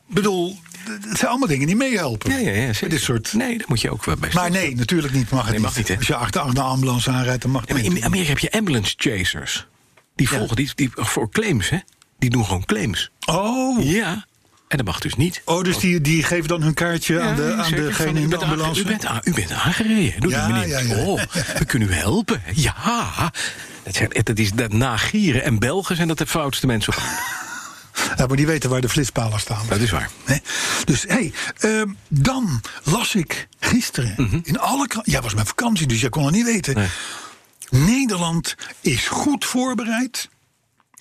ik bedoel, d- het zijn allemaal dingen die meehelpen. Ja, ja, ja. Bij zeker. Dit soort. Nee, dat moet je ook wel bij Maar stilstaan. nee, natuurlijk niet. Mag het Nee, mag niet, hè? Als je achter achter de ambulance aanrijdt, dan mag het Ja, maar niet. in Amerika heb je ambulance chasers. Die volgen die, die voor claims, hè? Die doen gewoon claims. Oh, Ja. En dat mag dus niet. oh dus die, die geven dan hun kaartje aan, de, aan zeker. Van, degene u in de bent aange- ambulance? U bent, aan- u bent aangereden. Doe Ja, die meneer. ja, ja. Oh, we kunnen u helpen. Ja. Dat, zijn, dat is dat nagieren en Belgen zijn dat de foutste mensen. op aarde. Ja, maar die weten waar de flitspalen staan. Dat is waar. Hè? Dus hé, ehm, dan las ik gisteren Mhm. in alle kranten. Jij was met vakantie, dus jij kon het niet weten. Nederland is goed voorbereid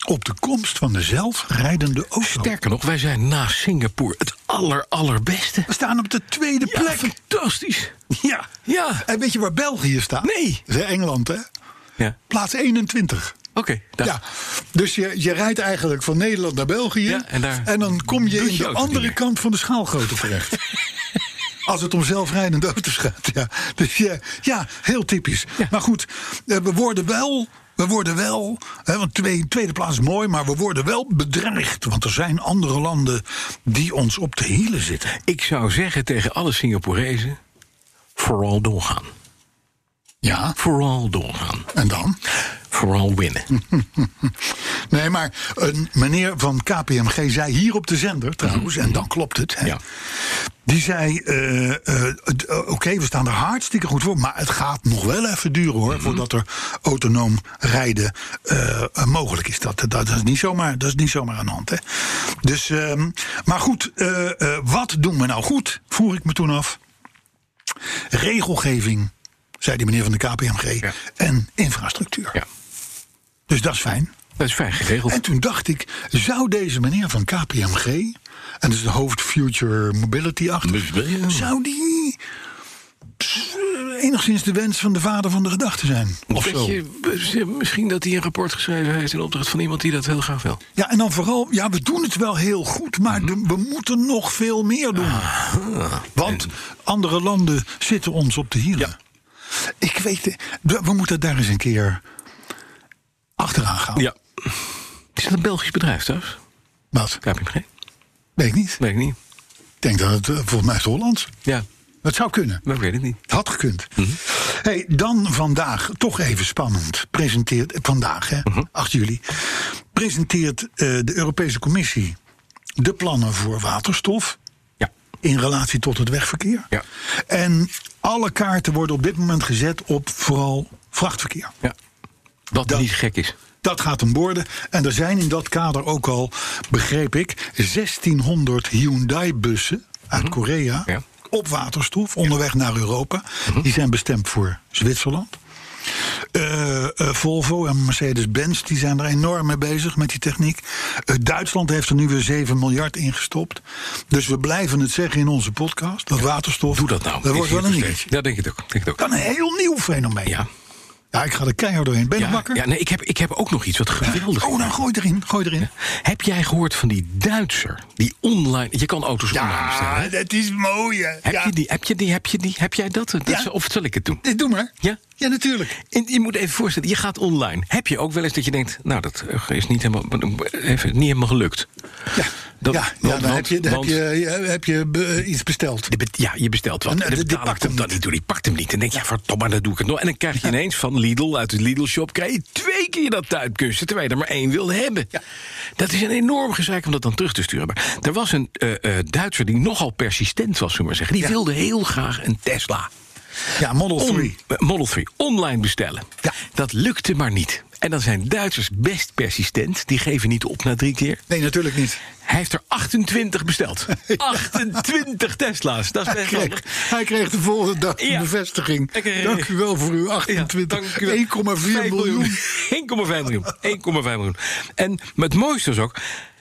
op de komst van de zelfrijdende auto. Sterker nog, wij zijn na Singapore het aller allerbeste. We staan op de tweede Ja, plek. fantastisch. Ja. Ja. En weet je waar België staat? Nee. Dat is Engeland, hè? Ja. Plaats 21. Oké. daar- Ja, dus je, je rijdt eigenlijk van Nederland naar België. Ja, en daar dan kom je doet in je de auto niet andere meer. kant van de schaalgrootte terecht. Als het om zelfrijdende auto's gaat. Ja, dus ja, ja heel typisch. Ja. Maar goed, eh, we worden wel. We worden wel, hè, want twee, tweede plaats is mooi, maar we worden wel bedreigd. Want er zijn andere landen die ons op de hielen zitten. Ik zou zeggen tegen alle Singaporezen: vooral doorgaan. Ja, Vooral doorgaan. en dan? Vooral winnen. Nee, maar een meneer van KPMG zei hier op de zender trouwens, en dan klopt het. Hè, Mhm. Ja. Die zei: eh, eh, d- eh, Oké, we staan er hartstikke goed voor. Maar het gaat nog wel even duren hoor. Mhm. Voordat er autonoom rijden eh, eh, mogelijk is. Dat, dat, dat, is niet zomaar, dat is niet zomaar aan de hand. Hè? Dus, ehm, maar goed, eh, eh, wat doen we nou goed? Vroeg ik me toen af. Regelgeving, zei die meneer van de KPMG. Ja. En infrastructuur. Ja, Dus dat is fijn. dat is fijn geregeld. En toen dacht ik, zou deze meneer van KPMG, en dat is de hoofd Future Mobility achter, Mobility. zou die pss, enigszins de wens van de vader van de gedachte zijn? Of Weet zo. je, misschien dat hij een rapport geschreven heeft in opdracht van iemand die dat heel graag wil. Ja, en dan vooral, ja, we doen het wel heel goed, maar de- we moeten nog veel meer doen. Want andere landen zitten ons op de hielen. Ik weet, het, we we moeten daar eens een keer achteraan gaan. Ja. Is dat een Belgisch bedrijf trouwens? Wat? KPMG? Weet ik niet. Weet ik niet. Ik denk dat het, eh, volgens mij is het Hollands. Ja, Dat zou kunnen. maar ik weet het niet. Het had gekund. hey, dan vandaag, toch even spannend, presenteert... eh, Vandaag, hè, 8 juli. Presenteert eh, de Europese Commissie de plannen voor waterstof... Ja. in relatie tot het wegverkeer. Ja. En alle kaarten worden op dit moment gezet op vooral vrachtverkeer. ja. Wat Dat- niet gek is. Dat gaat hem worden. En er zijn in dat kader ook al, begreep ik, 1600 Hyundai-bussen uit Korea Mhm. Ja. Mhm. op waterstof onderweg naar Europa. Die zijn bestemd voor Zwitserland. Eh, eh, Volvo en Mercedes-Benz die zijn er enorm mee bezig met die techniek. Eh, Duitsland heeft er nu weer 7 miljard in gestopt. Dus we blijven het zeggen in onze podcast: dat waterstof. Doe dat nou. Dat Is wordt hier wel een nog dingetje. steeds. Ja, denk ik het ook. Denk het ook. Dan een heel nieuw fenomeen. Ja. Ja, ik ga er keihard doorheen. Ben je nog Ja, wakker? ja, nee, ik heb, ik heb ook nog iets wat geweldig Oh, is. dan gooi erin. Gooi erin. Heb jij gehoord van die Duitser? Die online. Je kan auto's online bestellen. hè? Ja, dat is mooi. hè. Heb ja. je die? Heb je die? Heb je die? Heb jij dat? dat Ja. is- Of zal ik het doen? Eh, Doe maar. Ja? Ja, natuurlijk. En je moet even voorstellen, je gaat online. Heb je ook wel eens dat je denkt, nou, dat eh, is niet helemaal, even, niet helemaal gelukt. Ja, Dat- ja, ja want- dan heb want- je, dan want- heb je, ja, heb je be- eh, iets besteld. Je bet- Ja, je bestelt wat. En, En, eh, de die- die betaler pakt hem komt dan niet. niet door. Die pakt hem niet. En denk je, ja, verdomme, dat doe ik het nog. En dan krijg je ineens van Lidl, uit de Lidl-shop... krijg je twee keer dat tuitkussen, terwijl je er maar één wil hebben. Dat is een enorm gezeik om dat dan terug te sturen. Maar er was een eh, eh, Duitser die nogal persistent was, zullen we maar zeggen. Die Ja. wilde heel graag een Tesla. Ja, Model On- 3. eh, Model 3, online bestellen. Ja. Dat lukte maar niet. En dan zijn Duitsers best persistent. Die geven niet op na drie keer. Nee, natuurlijk niet. Hij heeft er 28 besteld. 28 Tesla's. Dat is Hij best kreeg, handig. hij kreeg de volgende dag een Ja. bevestiging. Ik kreeg- Dank u wel voor uw Ja, 28. dank u wel. 1,4 5 miljoen. 1,5 miljoen. 1,5 miljoen. En maar het mooiste was ook,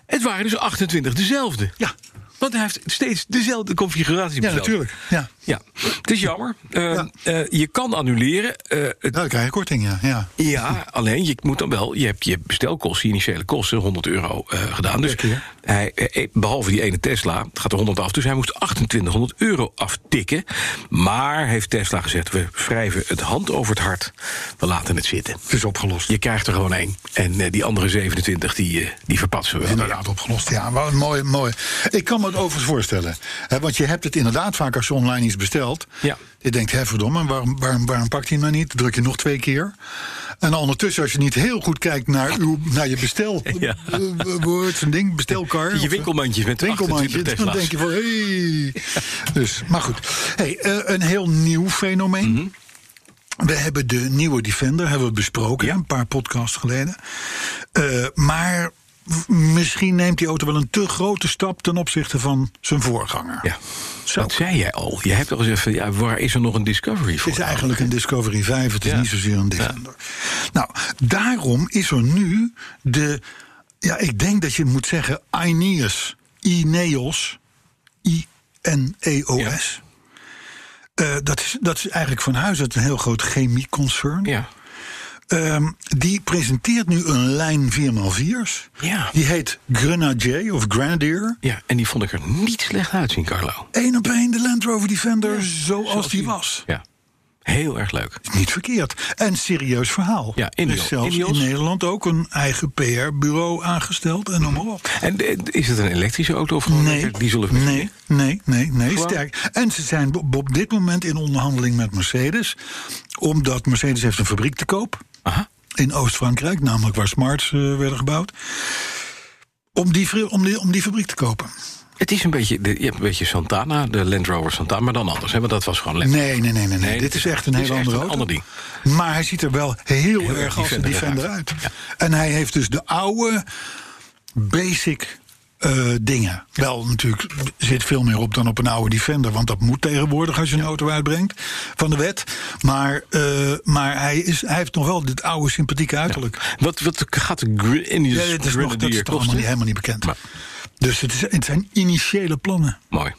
het waren dus 28 dezelfde. Ja. Want hij heeft steeds dezelfde configuratie Ja, besteld. natuurlijk. Ja. Ja, het is jammer. Eh, Ja. eh, je kan annuleren. Eh, het- Ja, Nou, dan krijg je korting, ja. ja. ja, alleen je moet dan wel. Je hebt je bestelkosten, je initiële kosten, 100 euro eh, gedaan. Dus Per keer. hij, eh, eh, behalve die ene Tesla, het gaat er 100 af. Dus hij moest 2800 euro aftikken. Maar heeft Tesla gezegd: we wrijven het hand over het hart. We laten het zitten. Is opgelost. Je krijgt er gewoon één. En eh, die andere 27, die, eh, die verpatsen we wel. Inderdaad opgelost, ja. Wat mooi, mooi. Ik kan me het overigens voorstellen. Hè, want je hebt het inderdaad vaak als je online iets bestelt. Ja. Je denkt, hè verdomme, waarom, waarom, waarom pakt hij hem nou niet? Druk je nog twee keer. En ondertussen, als je niet heel goed kijkt naar, uw, naar je bestel... Ja. eh, eh, hoe heet zo'n ding, bestelkar. Je of- winkelmandjes met Winkelmandje, 28 dan Tesla's. denk je van, Hey. Dus, maar goed. Hey, eh, een heel nieuw fenomeen. Mhm. We hebben de nieuwe Defender hebben we besproken een paar podcasts geleden. Eh, maar w- misschien neemt die auto wel een te grote stap ten opzichte van zijn voorganger. Ja. Zo. Dat zei jij al. Je hebt al gezegd: van, ja, waar is er nog een Discovery voor? Het is eigenlijk een Discovery 5, het is Ja. niet zozeer een Defender. Nou, daarom is er nu de. Ja, ik denk dat je moet zeggen INEOS. INEOS. I-N-E-O-S. E Eh, dat, is, dat is eigenlijk van huis uit een heel groot chemieconcern. Ja. Ehm, die presenteert nu een lijn 4x4's. Ja. Die heet Grenadier of Grenadier. ja, en die vond ik er niet slecht uitzien, Carlo. Eén op één de Land Rover Defender zoals die was. Ja. Heel erg leuk. Niet verkeerd. En serieus verhaal. Ja, Er Ineos- is zelfs Ineos. in Nederland ook een eigen PR-bureau aangesteld en noem maar op. En eh, is het een elektrische auto of gewoon Nee, een diesel? of nee, nee, nee, nee, Gewoon- sterk. En ze zijn op- op dit moment in onderhandeling met Mercedes. Omdat Mercedes heeft een fabriek te koop Aha. in Oost-Frankrijk, namelijk waar Smarts eh, werden gebouwd. Om die, fri- om, die, om die fabriek te kopen. Het is een beetje, de- je hebt een beetje Santana, de Land Rover Santana, maar dan anders. Hè? Want dat was gewoon Land Nee, nee, nee, nee, nee. Nee, Dit is echt een dit is hele andere echt een auto. ander Maar hij ziet er wel heel, erg als een Defender Defender uit. uit. En hij heeft dus de oude basic eh, dingen. Wel, natuurlijk zit veel meer op dan op een oude Defender. Want dat moet tegenwoordig als je een auto uitbrengt van de wet. Maar, eh, maar hij, is, hij heeft nog wel dit oude sympathieke uiterlijk. Wat, wat gaat de Gr- Indian Ja, dat is, nog, dat is Grenadier toch allemaal niet, kosten? helemaal niet bekend. Maar- Dus het, is, het zijn initiële plannen. Mooi.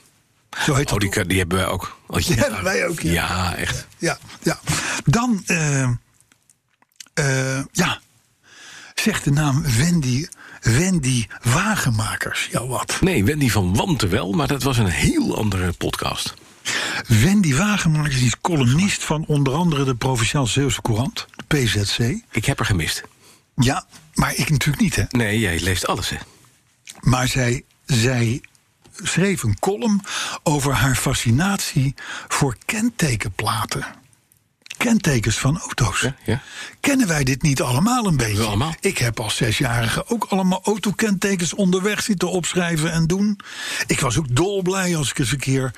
Zo heet Oh, dat die, kan- die hebben wij ook. Oh, Die hebben wij ook, ja. Ja, echt. ja, ja. Dan, eh, eh, ja, zegt de naam Wendy, Wendy Wagenmakers jou wat? Nee, Wendy van Wanten wel, maar dat was een heel andere podcast. Wendy Wagenmakers is columnist van onder andere de Provinciaal Zeeuwse Courant, de PZC. Ik heb er gemist. Ja, maar ik natuurlijk niet, hè. Nee, jij leest alles, hè? Maar zij, zij schreef een column over haar fascinatie voor kentekenplaten. Kentekens van auto's. Ja, ja. Kennen wij dit niet allemaal een beetje? allemaal. Ik heb als zesjarige ook allemaal autokentekens onderweg zitten opschrijven en doen. Ik was ook dolblij als ik eens een keer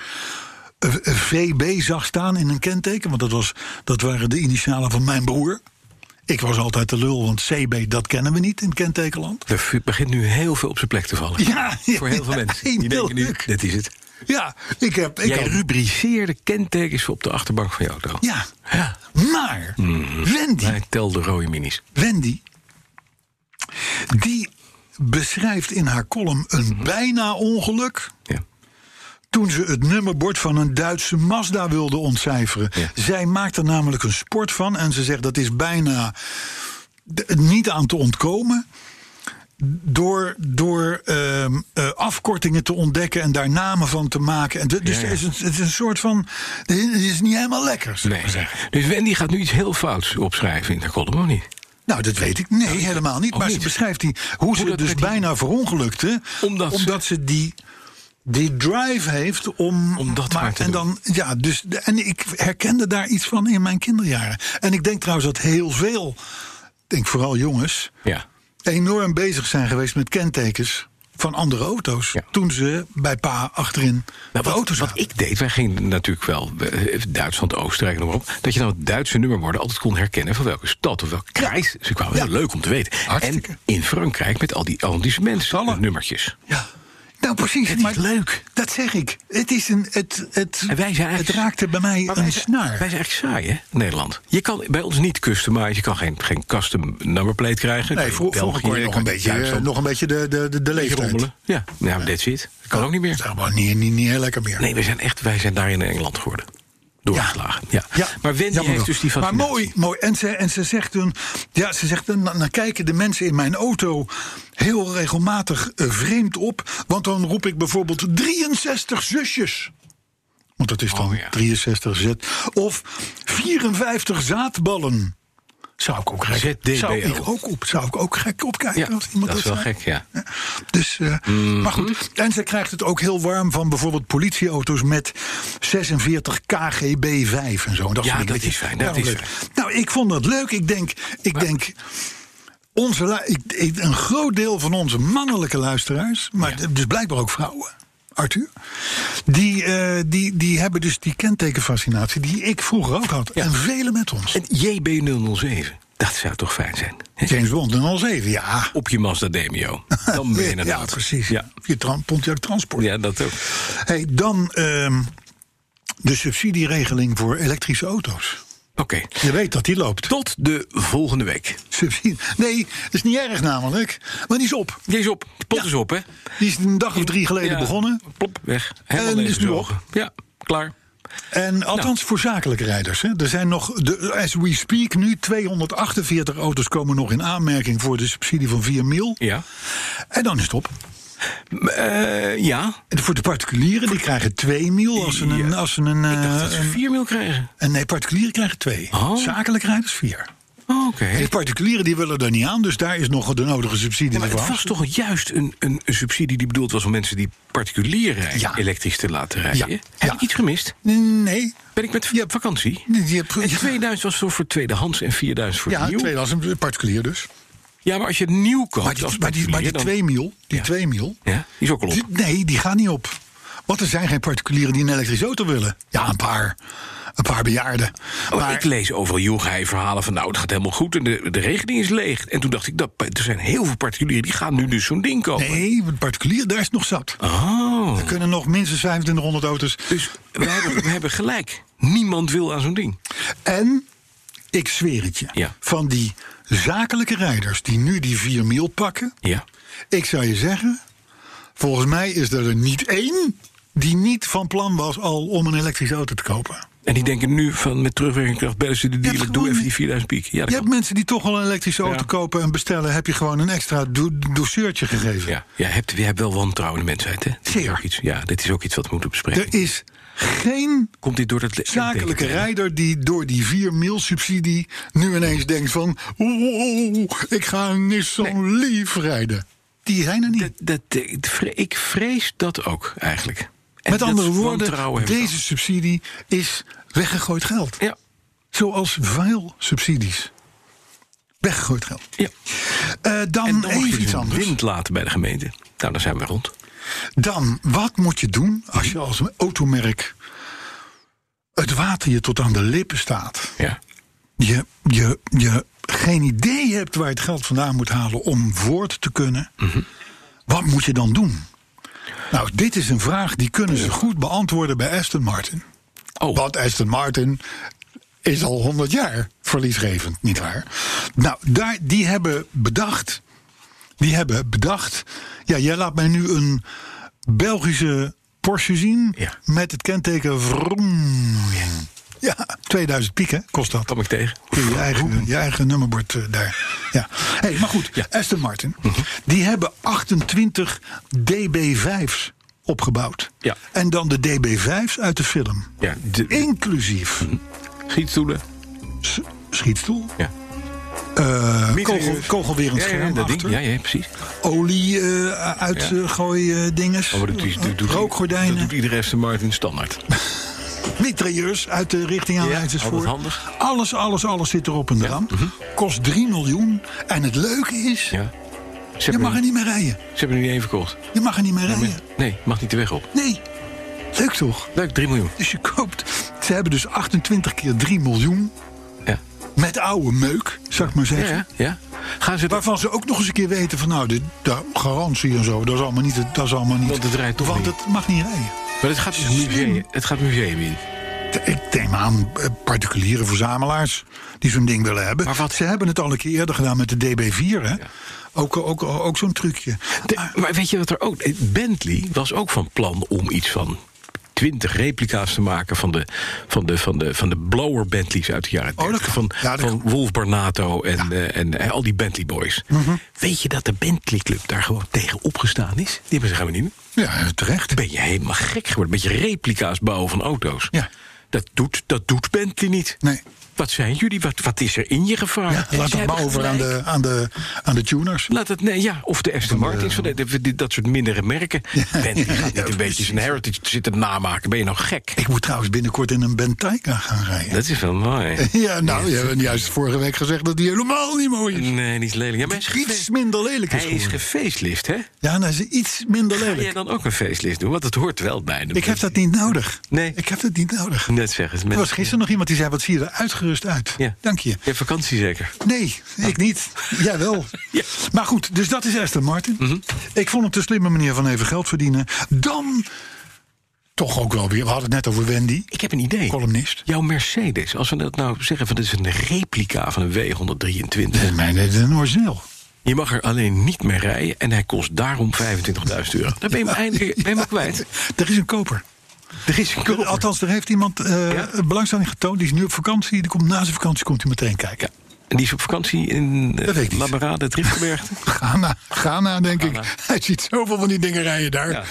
eh, eh, VB zag staan in een kenteken. Want dat, was, dat waren de initialen van mijn broer. Ik was altijd de lul, want CB, dat kennen we niet in kentekenland. Er v- begint nu heel veel op zijn plek te vallen. Ja, ja, Voor heel veel ja, mensen. Die heel denken nu, leuk. dit is het. Ja, ik heb. Ik Jij had- rubriceerde kentekens op de achterbank van je auto. ja. Ja. Mm. Maar Wendy, Wij telden rode minis. Wendy, die beschrijft in haar column Mm-hmm. een bijna ongeluk. Ja. Toen ze het nummerbord van een Duitse Mazda wilde ontcijferen. Ja. Zij maakt er namelijk een sport van. En ze zegt dat is bijna d- niet aan te ontkomen. Door, door ehm, eh, afkortingen te ontdekken en daar namen van te maken. En d- dus Ja, ja. Er is een, het is een soort van. Het is niet helemaal lekker. zullen we Nee. zeggen. Dus Wendy gaat nu iets heel fouts opschrijven in de column, of niet? Nou, dat weet ik. Nee, helemaal niet. Ook Maar niet. ze beschrijft die, hoe ze dat dus met die- bijna verongelukte. Omdat ze- ze, die, die drive heeft om. Om dat maar te en doen. dan, ja, dus, de- En ik herkende daar iets van in mijn kinderjaren. En ik denk trouwens dat heel veel, ik denk vooral jongens, Ja. enorm bezig zijn geweest met kentekens van andere auto's. Ja. Toen ze bij pa achterin Nou, de wat, auto wat zaten. ik deed, wij gingen natuurlijk wel eh, Duitsland, Oostenrijk, noem maar op. Dat je dan het Duitse nummerborden altijd kon herkennen van welke stad of Dus welke kruis. Ze kwamen heel Ja. leuk om te weten. Hartstikke. En in Frankrijk met al die Alle. arrondissementsnummertjes. Ja. Nou, precies. Het is leuk. Dat zeg ik. Het, is een, het, het, En wij zijn het eigenlijk- raakte bij mij Maar een wij zijn- snaar. Wij zijn echt saai, hè, Nederland. Je kan bij ons niet customize, je kan geen, geen custom number plate krijgen. Nee, Kan vro- in België, vroeger kon je nog kan een in beetje, eh, Duitsland nog een beetje de, de, de, de leeftijd. rommelen. Ja, nou, that's it. Dat kan ook niet Dat is meer. helemaal niet, niet, niet heel lekker meer. Nee, wij zijn echt, wij zijn daar in Engeland geworden. Doorgeslagen. Ja. Maar Wendy jammer heeft wel. dus die Maar fascinatie. mooi, mooi. En ze, en ze zegt toen... Ja, ze zegt, dan, dan kijken de mensen in mijn auto heel regelmatig eh, vreemd op. Want dan roep ik bijvoorbeeld 63 zusjes. Want dat is dan Oh, ja. 63 Z. Of 54 zaadballen. Zou ik ook gek ZDBL. Zou ik ook op, zou ik ook gek opkijken. Ja, als iemand dat is wel zei. gek, ja. Dus, eh, Mhm. Maar goed, en ze krijgt het ook heel warm van bijvoorbeeld politieauto's met 46 KGB 5 en zo. Dat Ja, vind dat ik een beetje- is fijn, dat is leuk. fijn. Nou, ik vond dat leuk. Ik denk, ik denk onze, lu- ik, ik- een groot deel van onze mannelijke luisteraars, maar d- dus blijkbaar ook vrouwen, Arthur, die, eh, die, die hebben dus die kentekenfascinatie die ik vroeger ook had. En velen met ons. En JB007, dat zou toch fijn zijn? Hè? James Bond en 07, ja. Op je Mazda Demio. Dan ben je inderdaad. Ja, precies. Ja, Je tran- Pontiac Transport. ja dat ook. Hey, dan ehm, de subsidieregeling voor elektrische auto's. Oké, Je weet dat die loopt. tot de volgende week. Subsidie. Nee, dat is niet erg namelijk. Maar die is op. Die is op, de pot Ja. is op, hè? Die is een dag of drie geleden Ja, begonnen. Plop, weg. En Helemaal die is nu leeggezogen. Ja, klaar. En Nou. althans voor zakelijke rijders. Hè. Er zijn nog, de, as we speak nu, 248 auto's komen nog in aanmerking voor de subsidie van 4 mil. Ja. En dan is het op. Eh, ja, En voor de particulieren, die krijgen 2 mil als ze een... Ja. Als ze een ik dacht dat eh, ze 4 mil kregen. een- nee, particulieren krijgen 2. Oh. Zakelijke rijders 4. Oh, Oké. Die particulieren die willen er niet aan, dus daar is nog de nodige subsidie Ja, maar voor. het was toch juist een, een, een subsidie die bedoeld was om mensen die particulier rijden, Ja. elektrisch te laten rijden. Ja. Heb Ja. ik iets gemist? Nee. Ben ik met Je hebt- vakantie? Je hebt- En 2000 was zo voor tweedehands en 4000 voor Ja, nieuw. tweedehands, een particulier dus. Ja, maar als je het nieuw koopt. Maar die, als maar die, maar die particulier, twee mil, die Ja. twee mil, dan- Ja, die is ook al op. die- nee, die gaan niet op. Want er zijn geen particulieren die een elektrische auto willen. Ja, een paar, een paar bejaarden. Oh, maar, ik lees overal joeghei-verhalen van nou, het gaat helemaal goed en de, de regeling is leeg. En toen dacht ik, dat, er zijn heel veel particulieren die gaan nu dus zo'n ding kopen. nee, particulieren, daar is het nog zat. Oh. Er kunnen nog minstens 2500 auto's. Dus we hebben, we hebben gelijk. Niemand wil aan zo'n ding. En, ik zweer het je, Ja. van die zakelijke rijders die nu die 4 mil pakken... Ja. Ik zou je zeggen, volgens mij is er er niet één die niet van plan was al om een elektrische auto te kopen. En die denken nu van met terugwerkende kracht bellen ze de hebt dealer, doe gewoon- even die 4000 piek. Ja, dat Je hebt kan. mensen die toch al een elektrische Ja. auto kopen en bestellen, heb je gewoon een extra do douceurtje gegeven. ja. ja hebt, je hebt wel wantrouwen in de mensheid, hè? Dit is Zeer. ook iets, ja, dit is ook iets wat we moeten bespreken. Er is geen Komt dit door dat le- zakelijke tekenen? rijder die door die 4 mil subsidie nu ineens denkt van... "Oeh, ik ga een Nissan Leaf rijden. Die zijn er niet. Dat, dat, ik vre- ik vrees dat ook eigenlijk. En Met dat andere wantrouwen woorden, heb ik deze subsidie is weggegooid geld. ook. Ja, Zoals veel subsidies. Weggegooid geld. ja. Eh, dan, En dan mag je even iets dus anders. wind laten bij de gemeente. Nou, dan zijn we rond. Dan, wat moet je doen als je als automerk het water je tot aan de lippen staat? Ja. Je, je, je geen idee hebt waar je het geld vandaan moet halen om voort te kunnen. Mhm. Wat moet je dan doen? Nou, dit is een vraag die kunnen ze goed beantwoorden bij Aston Martin. Oh, Want Aston Martin is al 100 jaar verliesgevend, nietwaar? Nou, daar, die hebben bedacht. Die hebben bedacht. Ja, jij laat mij nu een Belgische Porsche zien. Ja. Met het kenteken Vroom. Ja, 2000 piek, hè, kost dat. kwam ik tegen. Kun je je eigen, je eigen nummerbord eh, daar. Ja. Hey, maar goed, Ja. Mhm. Aston Martin. Die hebben 28 DB5's opgebouwd. Ja. En dan de DB5's uit de film. Ja, de Mhm. Inclusief gietstoelen. s- schietstoel, Ja. eh, kogel, Mitrailleur. kogelwerend Ja, ja, scherm dat ding. achter, Ja, ja, precies. olie eh uitgooi eh, dinges, Oh, maar dat is- dat doet- rookgordijnen, Dat doet iedere Aston Martin standaard. mitrailleurs uit de richting aan Ja, Leidsers altijd voor. handig. Mhm. Alles, alles, alles zit erop en eraan. Kost 3 miljoen. En het leuke is, Ja. Ze je hebben, mag er hem, niet meer rijden. ze hebben hem niet één verkocht. Je mag er niet meer rijden. Nee, mag niet de weg op. Nee, leuk toch? Leuk, 3 miljoen. Dus je koopt, ze hebben dus 28 keer 3 miljoen Ja. met oude meuk, zou ik maar Ja, zeggen. ja. ja. Gaan ze dat... Waarvan ze ook nog eens een keer weten van nou, de, de garantie en zo, dat is allemaal niet. Dat is allemaal niet Want het rijdt toch Want niet. het mag niet rijden. Maar het gaat, dus museum, het gaat museum in. T- Ik neem aan eh, particuliere verzamelaars die zo'n ding willen hebben. Maar wat- Ze hebben het al een keer eerder gedaan met de DB4, hè? Ook, ook, ook zo'n trucje. De- Ah. maar weet je wat er ook... eh, Bentley was ook van plan om iets van... 20 replica's te maken van de, van de, van de, van de blower Bentleys uit de jaren Oh, dat 30. van, kan. Ja, dat van Wolf Barnato en, eh, en, eh, al die Bentley boys. Mhm. Weet je dat de Bentley Club daar gewoon tegen opgestaan is? Die hebben ze gaan we niet doen. Ja, terecht. Ben je helemaal gek geworden? Met je replica's bouwen van auto's. Ja. Dat doet, dat doet Bentley niet. Nee. Wat zijn jullie? Wat, wat is er in je gevaar? Ja, laat Ze dat hebben maar over aan gelijk. de, aan, de, aan de tuners. Laat het, nee, ja, of de Aston eh, Martins, van de- de- die- dat soort mindere merken. Bentley gaat niet een beetje zijn heritage zitten namaken. Ben je nou gek? Ik moet trouwens binnenkort in een Bentayga gaan rijden. Dat is wel mooi. Ja, nou, je hebt juist vorige week gezegd dat die helemaal niet mooi is. Nee, die is lelijk. Ja, maar hij is Iets gefe- minder lelijk is Hij is geworden. gefacelift, hè? Ja, nou, is iets minder Ga jij lelijk. dan ook een facelift doen? Want het hoort wel bij de Ik heb dat niet nodig. Nee. Ik heb dat niet nodig. Net zeggen. Er mensen- was gisteren nog iemand die zei, wat zie je er uitgerust uit. Ja. Dank je. Je hebt vakantie zeker. Nee, ik niet. Jij wel. Ja. Mhm. Maar goed, dus dat is Aston Martin. Ik vond het een slimme manier van even geld verdienen. Dan toch ook wel weer, we hadden het net over Wendy, Ik heb een idee. columnist. Jouw Mercedes, als we dat nou zeggen van dit is een replica van een W123. Dat is mijn dat is een origineel. Je mag er alleen niet mee rijden en hij kost daarom 25.000 euro. Dan ben je hem eindelijk ben je hem ook kwijt. Er is een koper. Er is een koper. Althans, er heeft iemand eh, Ja? belangstelling getoond. Die is nu op vakantie. Die komt na zijn vakantie komt hij meteen kijken. Ja. En die is op vakantie in Dat weet ik eh, niet. Labarade, het Rietgebergte. Ghana, Ghana, denk ik. Ghana. Hij ziet zoveel van die dingen rijden daar. Ja.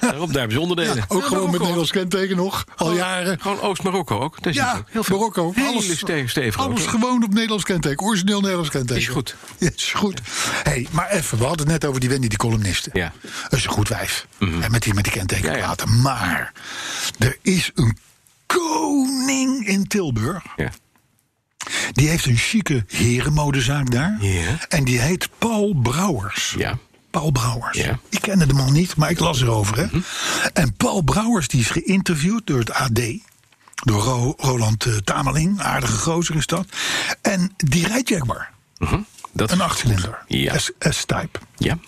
Daarop, daar hebben ze onderdelen. Ja, Ja, ook gewoon Marokko. met Nederlands kenteken nog, al jaren. Gewoon Oost-Marokko ook. Daar zit Ja, Oh. ook heel veel. Marokko. Hele Alles, ste- stevige alles auto's. gewoon op Nederlands kenteken. Origineel Nederlands kenteken. Is goed. Is goed. hey, maar even, we hadden het net over die Wendy, die columniste. Ja. Mhm. Dat is een goed wijf. En met die, met die kenteken Ja, ja. praten. Maar er is een koning in Tilburg. Ja. Die heeft een chique herenmodezaak daar. Ja. En die heet Paul Brouwers. Ja. Paul Brouwers. Ja. Mhm. Ik kende de man niet, maar ik las erover. Hè? En Paul Brouwers die is geïnterviewd door het AD. Door Ro- Roland eh, Tameling. Aardige gozer is dat. En die rijdt Jaguar. Dat Een achtcilinder. Ja. S- S-type. Ja.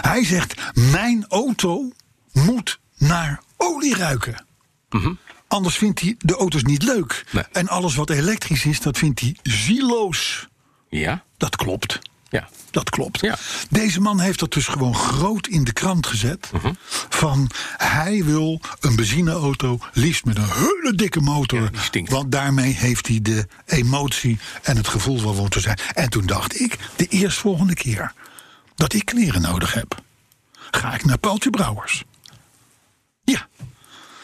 Hij zegt: Mijn auto moet naar olie ruiken. Anders vindt hij de auto's niet leuk. Mhm. Nee. En alles wat elektrisch is, dat vindt hij zieloos. Ja. Dat klopt. Ja. Dat klopt. Ja. Deze man heeft dat dus gewoon groot in de krant gezet. Mhm. Van hij wil een benzineauto, liefst met een hele dikke motor. Ja, die stinkt. want daarmee heeft hij de emotie en het gevoel van wat te zijn. En toen dacht ik, de eerstvolgende keer dat ik kleren nodig heb, ga ik naar Paaltje Brouwers. Ja.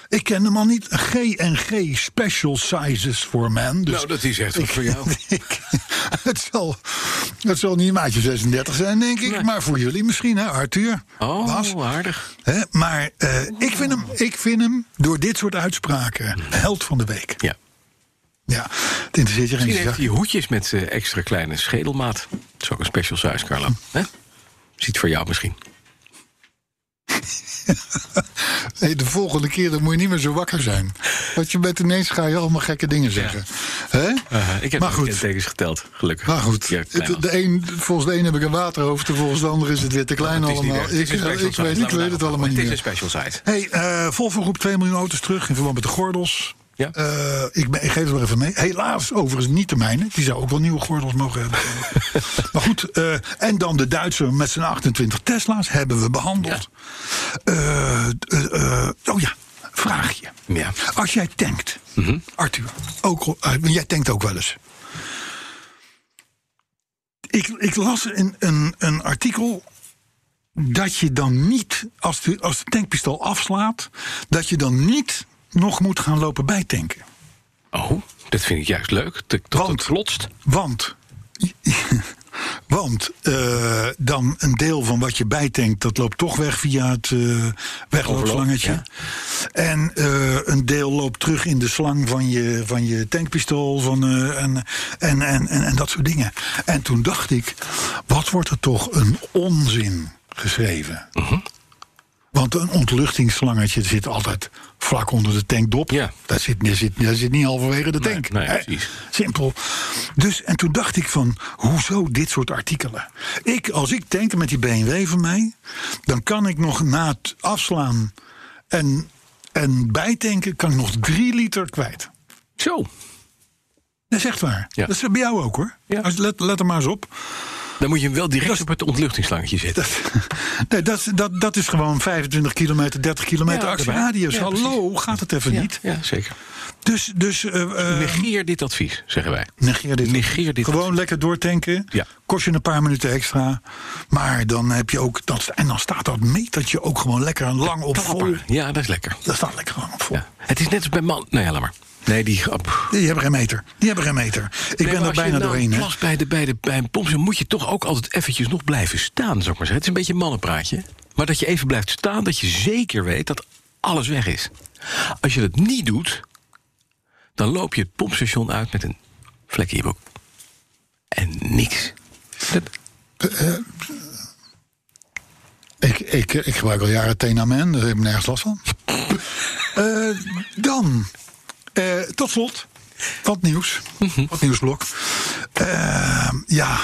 Ik ken hem al niet. G&G Special Sizes for Men. Dus Nou, dat is echt wat voor jou. ik, het, zal, het zal niet maatje 36 zijn, denk ik. Nee. Maar voor jullie misschien, hè, Arthur. Oh, Bas. aardig. Hè, maar eh, ik, vind hem, ik vind hem door dit soort uitspraken held van de week. Ja. Ja, het interesseert je geen Misschien heeft zak. hij hoedjes met eh, extra kleine schedelmaat. Dat is ook een special size, Carlo. Hè? Ziet voor jou misschien. Hey, de volgende keer dan moet je niet meer zo wakker zijn. Want je bent ineens ga je allemaal gekke dingen zeggen. Hè? Eh, ik heb maar de goed, kentekens geteld, gelukkig. maar goed. Ja, Het- klein was. de een, volgens de een heb ik een waterhoofd, en volgens de ander is het weer te Het klein is niet allemaal. erg. Het Ik, is een special ik, size. weet, ik Laten we weet het daarop allemaal niet houden. meer. Het is een special size. Hey, eh Volvo roept 2 miljoen auto's terug in verband met de gordels. Ja. Eh, ik, ben- ik geef het maar even mee. Helaas, overigens niet de mijne. Die zou ook wel nieuwe gordels mogen hebben. maar goed, eh, en dan de Duitser met zijn 28 Tesla's hebben we behandeld. Eh, eh, eh, oh ja, vraagje. Ja. Als jij tankt, Arthur, ook, al- eh, jij tankt ook wel eens. Ik, ik las een, een, een artikel dat je dan niet, als de, als de tankpistool afslaat, dat je dan niet nog moet gaan lopen bijtanken. Oh, dat vind ik juist leuk. Dat dat Eh, Want- het klotst. Want, want eh, dan een deel van wat je bijtankt, dat loopt toch weg via het eh wegloopslangetje. Overloop, En eh, een deel loopt terug in de slang van je, van je tankpistool van, eh, en, en, en, en, en dat soort dingen. En toen dacht ik, wat wordt er toch een onzin geschreven? Mhm. Want een ontluchtingsslangetje zit altijd vlak onder de tankdop. Ja. Daar, zit, daar, zit, daar zit niet halverwege de Nee, tank. nee, Hè? nou precies. Simpel. Dus, en toen dacht ik van, hoezo dit soort artikelen? Ik, als ik tank met die BMW van mij... dan kan ik nog na het afslaan en, en bijtanken... kan ik nog drie liter kwijt. Zo, Dat is echt waar. Ja. Dat is bij jou ook, hoor. Ja. Als, let, let er maar eens op. dan moet je hem wel direct op het ontluchtingslangetje zetten. Dat, nee, dat, dat, dat is gewoon 25 kilometer, 30 kilometer Ja, erbij. actieradius. Ja, Hallo, gaat het even Ja, niet? Ja, zeker. Dus, dus eh, eh, Negeer dit advies, zeggen wij. negeer dit. Negeer dit Gewoon lekker doortanken. Ja. Kost je een paar minuten extra. Maar dan heb je ook. Dat, en dan staat dat metertje ook gewoon lekker lang op vol. Klapper. Ja, dat is lekker. Dat staat lekker lang op vol. Ja. Het is net als bij man. Nou ja, laat maar. Nee, die grap. Die hebben geen meter. Die hebben geen meter. Ik ben er bijna doorheen. hè. Als je nou plas bij de, bij de bij een pomp zit, moet je toch ook altijd eventjes nog blijven staan, zou ik maar zeggen. Het is een beetje een mannenpraatje. Maar dat je even blijft staan, dat je zeker weet dat alles weg is. Als je dat niet doet, dan loop je het pompstation uit met een vlek in je broek. En niks. Dat- Ik, ik, ik gebruik al jaren Tenamen, daar heb ik nergens last van. Eh, dan, eh, tot slot, wat nieuws. Wat nieuwsblok. Eh, ja,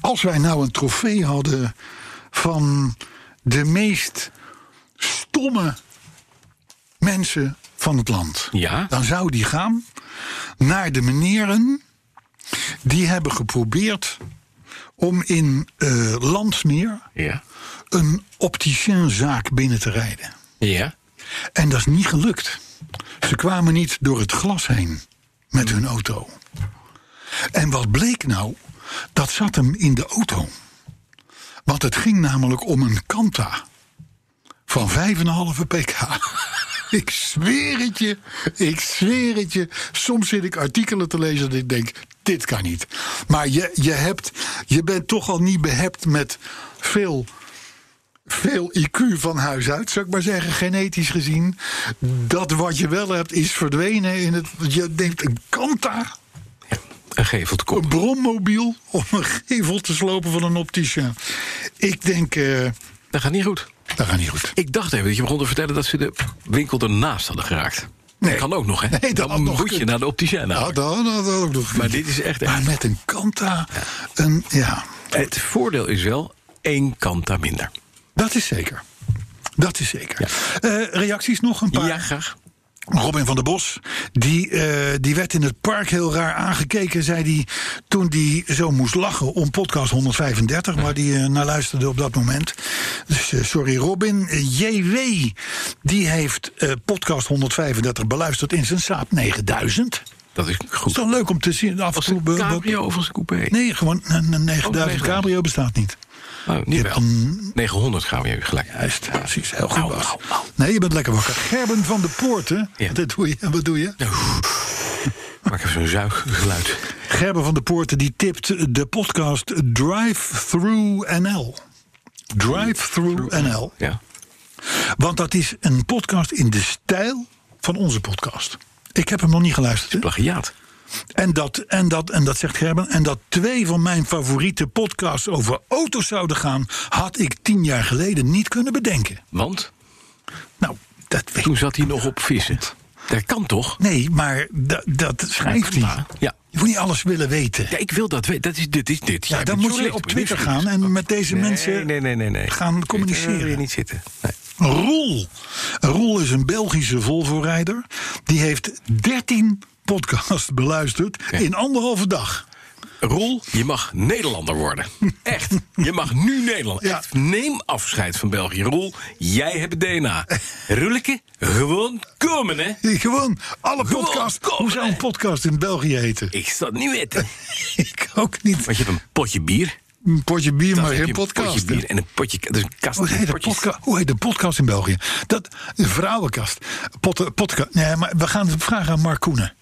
als wij nou een trofee hadden van de meest stomme mensen van het land. Ja. Dan zou die gaan naar de meneren die hebben geprobeerd om in eh, Landsmeer Ja. een opticienzaak binnen te rijden. Ja. En dat is niet gelukt. Ze kwamen niet door het glas heen met hun auto. En wat bleek nou? Dat zat hem in de auto. Want het ging namelijk om een Kanta van 5,5 pk. Ik zweer het je, ik zweer het je. Soms zit ik artikelen te lezen dat ik denk, dit kan niet. Maar je, je, hebt, je bent toch al niet behept met veel veel IQ van huis uit, zou ik maar zeggen, genetisch gezien. Dat wat je wel hebt is verdwenen in het. Je denkt, een kanta. een gevel te Een kopen. brommobiel om een gevel te slopen van een optische. Ik denk, eh, Dat gaat niet goed. dat gaat niet goed. Ik dacht even dat je begon te vertellen dat ze de winkel ernaast hadden geraakt. Nee. Dat kan ook nog, hè? Nee, dat had Dan nog moet je gekund. naar de opticien. Nou, namelijk. dat dat had ook nog. Maar dit is echt- Maar met een kanta. Een, ja, Het voordeel is wel één kanta minder. dat is zeker. Dat is zeker. Eh, reacties nog een paar? Ja, graag. Robin van der Bos, die, eh, die werd in het park heel raar aangekeken, zei hij toen hij zo moest lachen om podcast 135, waar hij eh, naar luisterde op dat moment. Dus eh, sorry Robin. Eh, JW, die heeft eh, podcast 135 beluisterd in zijn Saab 9000. Dat is Is goed. toch leuk om te zien? Af en Was toe het be- een be- cabrio of was het een coupé? Nee, gewoon een een 9000 Oh, cabrio bestaat niet. Nou, niet wel. mm. 900 gaan we even gelijk. Juist, precies. Heel goed. Au, Bas. au, au. Nee, je bent lekker wakker. Gerben van de Poorten, Ja. dat doe je, wat doe je? Maak even zo'n zuiggeluid. Gerben van de Poorten die tipt de podcast Drive Through NL. Drive Through NL. Ja. Want dat is een podcast in de stijl van onze podcast. Ik heb hem nog niet geluisterd. hè? Plagiaat. En dat, en, dat, en dat zegt Gerben. En dat twee van mijn favoriete podcasts over auto's zouden gaan, had ik tien jaar geleden niet kunnen bedenken. Want Nou, dat weet toen zat hij nog op vissen. Dat kan toch? Nee, maar da- dat schrijft hij. Ja. Je moet niet alles willen weten. Ja, ik wil dat weten. Dat is dit. Is dit. Ja, Jij dan bent moet je journalist, op ben je Twitter niet gaan en met deze Nee, mensen nee, nee, nee, nee. gaan Daar wil je communiceren. niet zitten. Nee. Roel. Roel is een Belgische Volvo-rijder. Die heeft 13 podcasts beluisterd in anderhalve dag. Roel, je mag Nederlander worden. Echt. Je mag nu Nederlander. Ja. Echt. Neem afscheid van België. Roel, jij hebt het DNA. Roeleke, gewoon komen, hè? Die Gewoon alle Gewoon podcasts. komen, Hoe zou een hè? podcast in België heten? Ik zal het niet weten. Ik ook niet. Want je hebt een potje bier. Een potje bier, Dan maar heb je geen een podcast. potje bier en een potje... Dus een kast Hoe met heet, de potjes. podca- hoe heet de podcast in België? Dat, de vrouwenkast. Pot, podcast. Nee, maar we gaan het vragen aan Mark Koenen.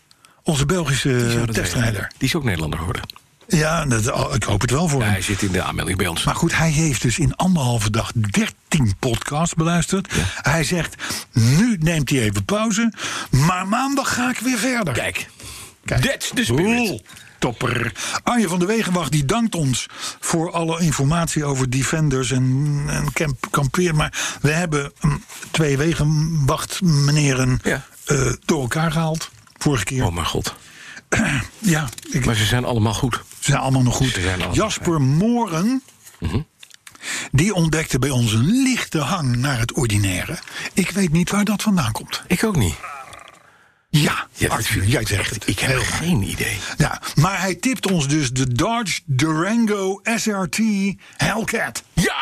Onze Belgische Zou dat testrijder. weten? Die is ook Nederlander geworden. Ja, dat, oh, ik hoop het wel voor Ja, hem. hij zit in de aanmelding bij ons. Maar goed, hij heeft dus in anderhalve dag 13 podcasts beluisterd. Hij zegt, nu neemt hij even pauze, maar maandag ga ik weer verder. Kijk, Kijk. that's the spirit. Oeh, Topper. Arjen van der Wegenwacht die dankt ons voor alle informatie over defenders en, en camp, kampeer. Maar we hebben mm, twee wegenwacht meneren Ja. door elkaar gehaald. Vorige keer. Oh mijn god. Ja, ik, Maar ze zijn allemaal goed. ze zijn allemaal nog goed. Ze zijn allemaal Mhm. Jasper Moren. Die ontdekte bij ons een lichte hang naar het ordinaire. Ik weet niet waar dat vandaan komt. Ik ook niet. Ja, Ja, dat Arthur, vind ik jij zegt echt- het. Ik heb Heel geen idee. Ja, maar hij tipt ons dus de Dodge Durango SRT Hellcat. Ja!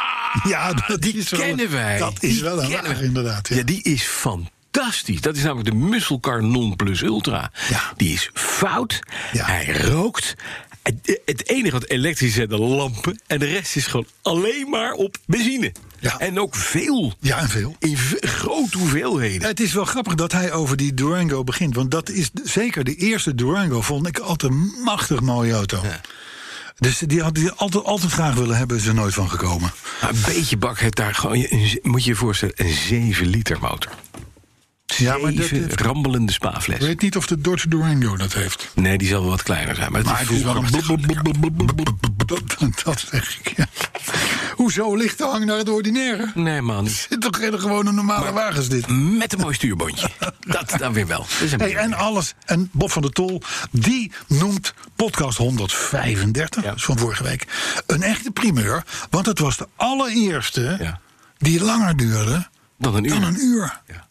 Ja, dat Ah, die is wel een- kennen wij. dat is Die wel een kennen laag, wij. inderdaad, ja. Ja. die is fantastisch. Dat is namelijk de musselcar non plus ultra. Ja. Die is fout. Ja. Hij rookt. Het, het enige wat elektrisch is zijn de lampen. En de rest is gewoon alleen maar op benzine. Ja. En ook veel. Ja, en veel. In v- grote hoeveelheden. Het is wel grappig dat hij over die Durango begint. Want dat is d- zeker de eerste Durango. Vond ik altijd een machtig mooie auto. Dus die had hij altijd, altijd graag willen hebben. Is er nooit van gekomen. Maar een beetje bak heeft daar gewoon... een ze- moet je je voorstellen, een 7 liter motor. Ja, maar dat, Even ik rammelende spaafles. weet niet of de Dodge Durango dat heeft. Nee, die zal wel wat kleiner zijn. Maar het Maar is het is wel vroeger- een Dat- Dat zeg ik, ja. Hoezo ligt de hang naar het ordinaire? Nee, man niet. Dit is toch geen gewone normale wagens dit? Met een mooi stuurbondje. dat dan weer wel. Dat is een Hey, en alles. En Bob van der Tol, die noemt podcast 135, Ja. dat is van vorige week, een echte primeur. Want het was de allereerste Ja. die langer duurde Dan een uur. dan een uur. Ja.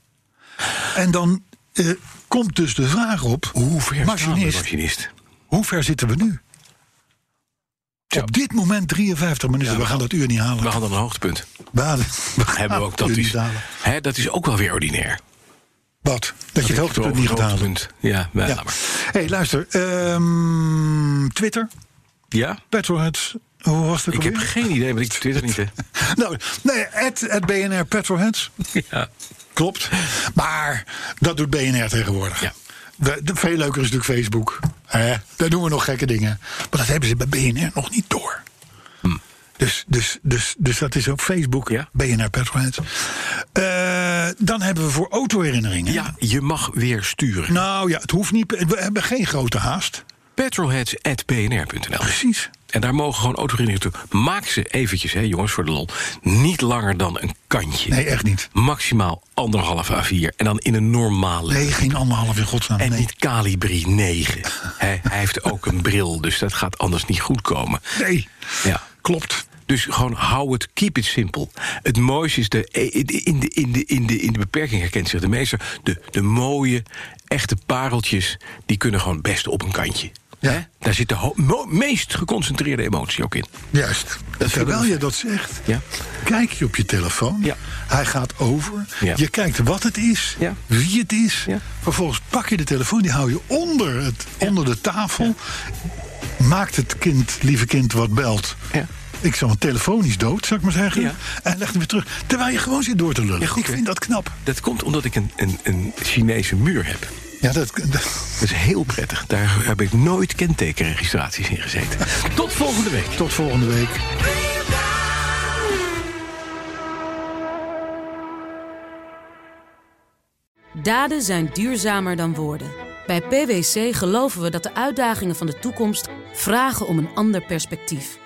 En dan eh, komt dus de vraag op, Hoe ver machinist. machinist, machinist? hoe ver zitten we nu? Zo. Op dit moment 53 minuten. we gaan dat uur niet halen. We hadden een hoogtepunt. We gaan- we gaan Hebben we ook het dat uur is, niet halen. hè, dat is ook wel weer ordinair. Wat? Dat je het hoogtepunt Over niet het gedaan hebt. hoogtepunt. Ja, nou, Ja. laat maar. hey, luister. ehm, Twitter, Ja? Petrolheads. Hoe was het Ik ook heb alweer? geen idee, maar ik twitter niet, hè. Nou, nee, het, het BNR Petrolheads. Ja. Klopt. Maar dat doet BNR tegenwoordig. Ja. De, de- veel leuker is natuurlijk Facebook. Hè? Daar doen we nog gekke dingen. Maar dat hebben ze bij BNR nog niet door. Dus, dus, dus, dus dat is ook Facebook, Hm. Ja. BNR Petrolheads. Eh, dan hebben we voor autoherinneringen. ja, je mag weer sturen. Nou ja, het hoeft niet. We hebben geen grote haast. petrolheads.bnr.nl. Precies. En daar mogen gewoon autoherinneringen toe. Maak ze eventjes, hè, jongens, voor de lol. Niet langer dan een kantje. Nee, echt niet. Maximaal anderhalf A4. En dan in een normale. Nee, geen anderhalf in godsnaam. En nee. niet Calibri 9. Hij, hij heeft ook een bril, dus dat gaat anders niet goed komen. Nee. Ja. Klopt. Dus gewoon hou het, keep it simple. Het mooiste is, de, in, de, in, de, in, de, in, de, in de beperking herkent zich de meester... De, de mooie, echte pareltjes, die kunnen gewoon best op een kantje. Ja. Hè? Daar zit de ho- mo- meest geconcentreerde emotie ook in. Juist. En terwijl je dat zegt, Ja. kijk je op je telefoon. Ja. Hij gaat over. Ja. Je kijkt wat het is, Ja. wie het is. Ja. Vervolgens pak je de telefoon, die hou je onder, het, onder de tafel. Maakt het kind, lieve kind, wat belt. Ja. Ik zal hem telefonisch dood, zou ik maar zeggen. Ja. En leg hem weer terug. Terwijl je gewoon zit door te lullen. Ja, goed, ik hè? vind dat knap. Dat komt omdat ik een, een, een Chinese muur heb. Ja, dat, dat- Dat is heel prettig. Daar heb ik nooit kentekenregistraties in gezeten. Tot volgende week. tot volgende week. Daden zijn duurzamer dan woorden. Bij PwC geloven we dat de uitdagingen van de toekomst vragen om een ander perspectief.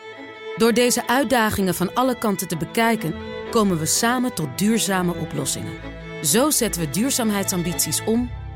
Door deze uitdagingen van alle kanten te bekijken, komen we samen tot duurzame oplossingen. Zo zetten we duurzaamheidsambities om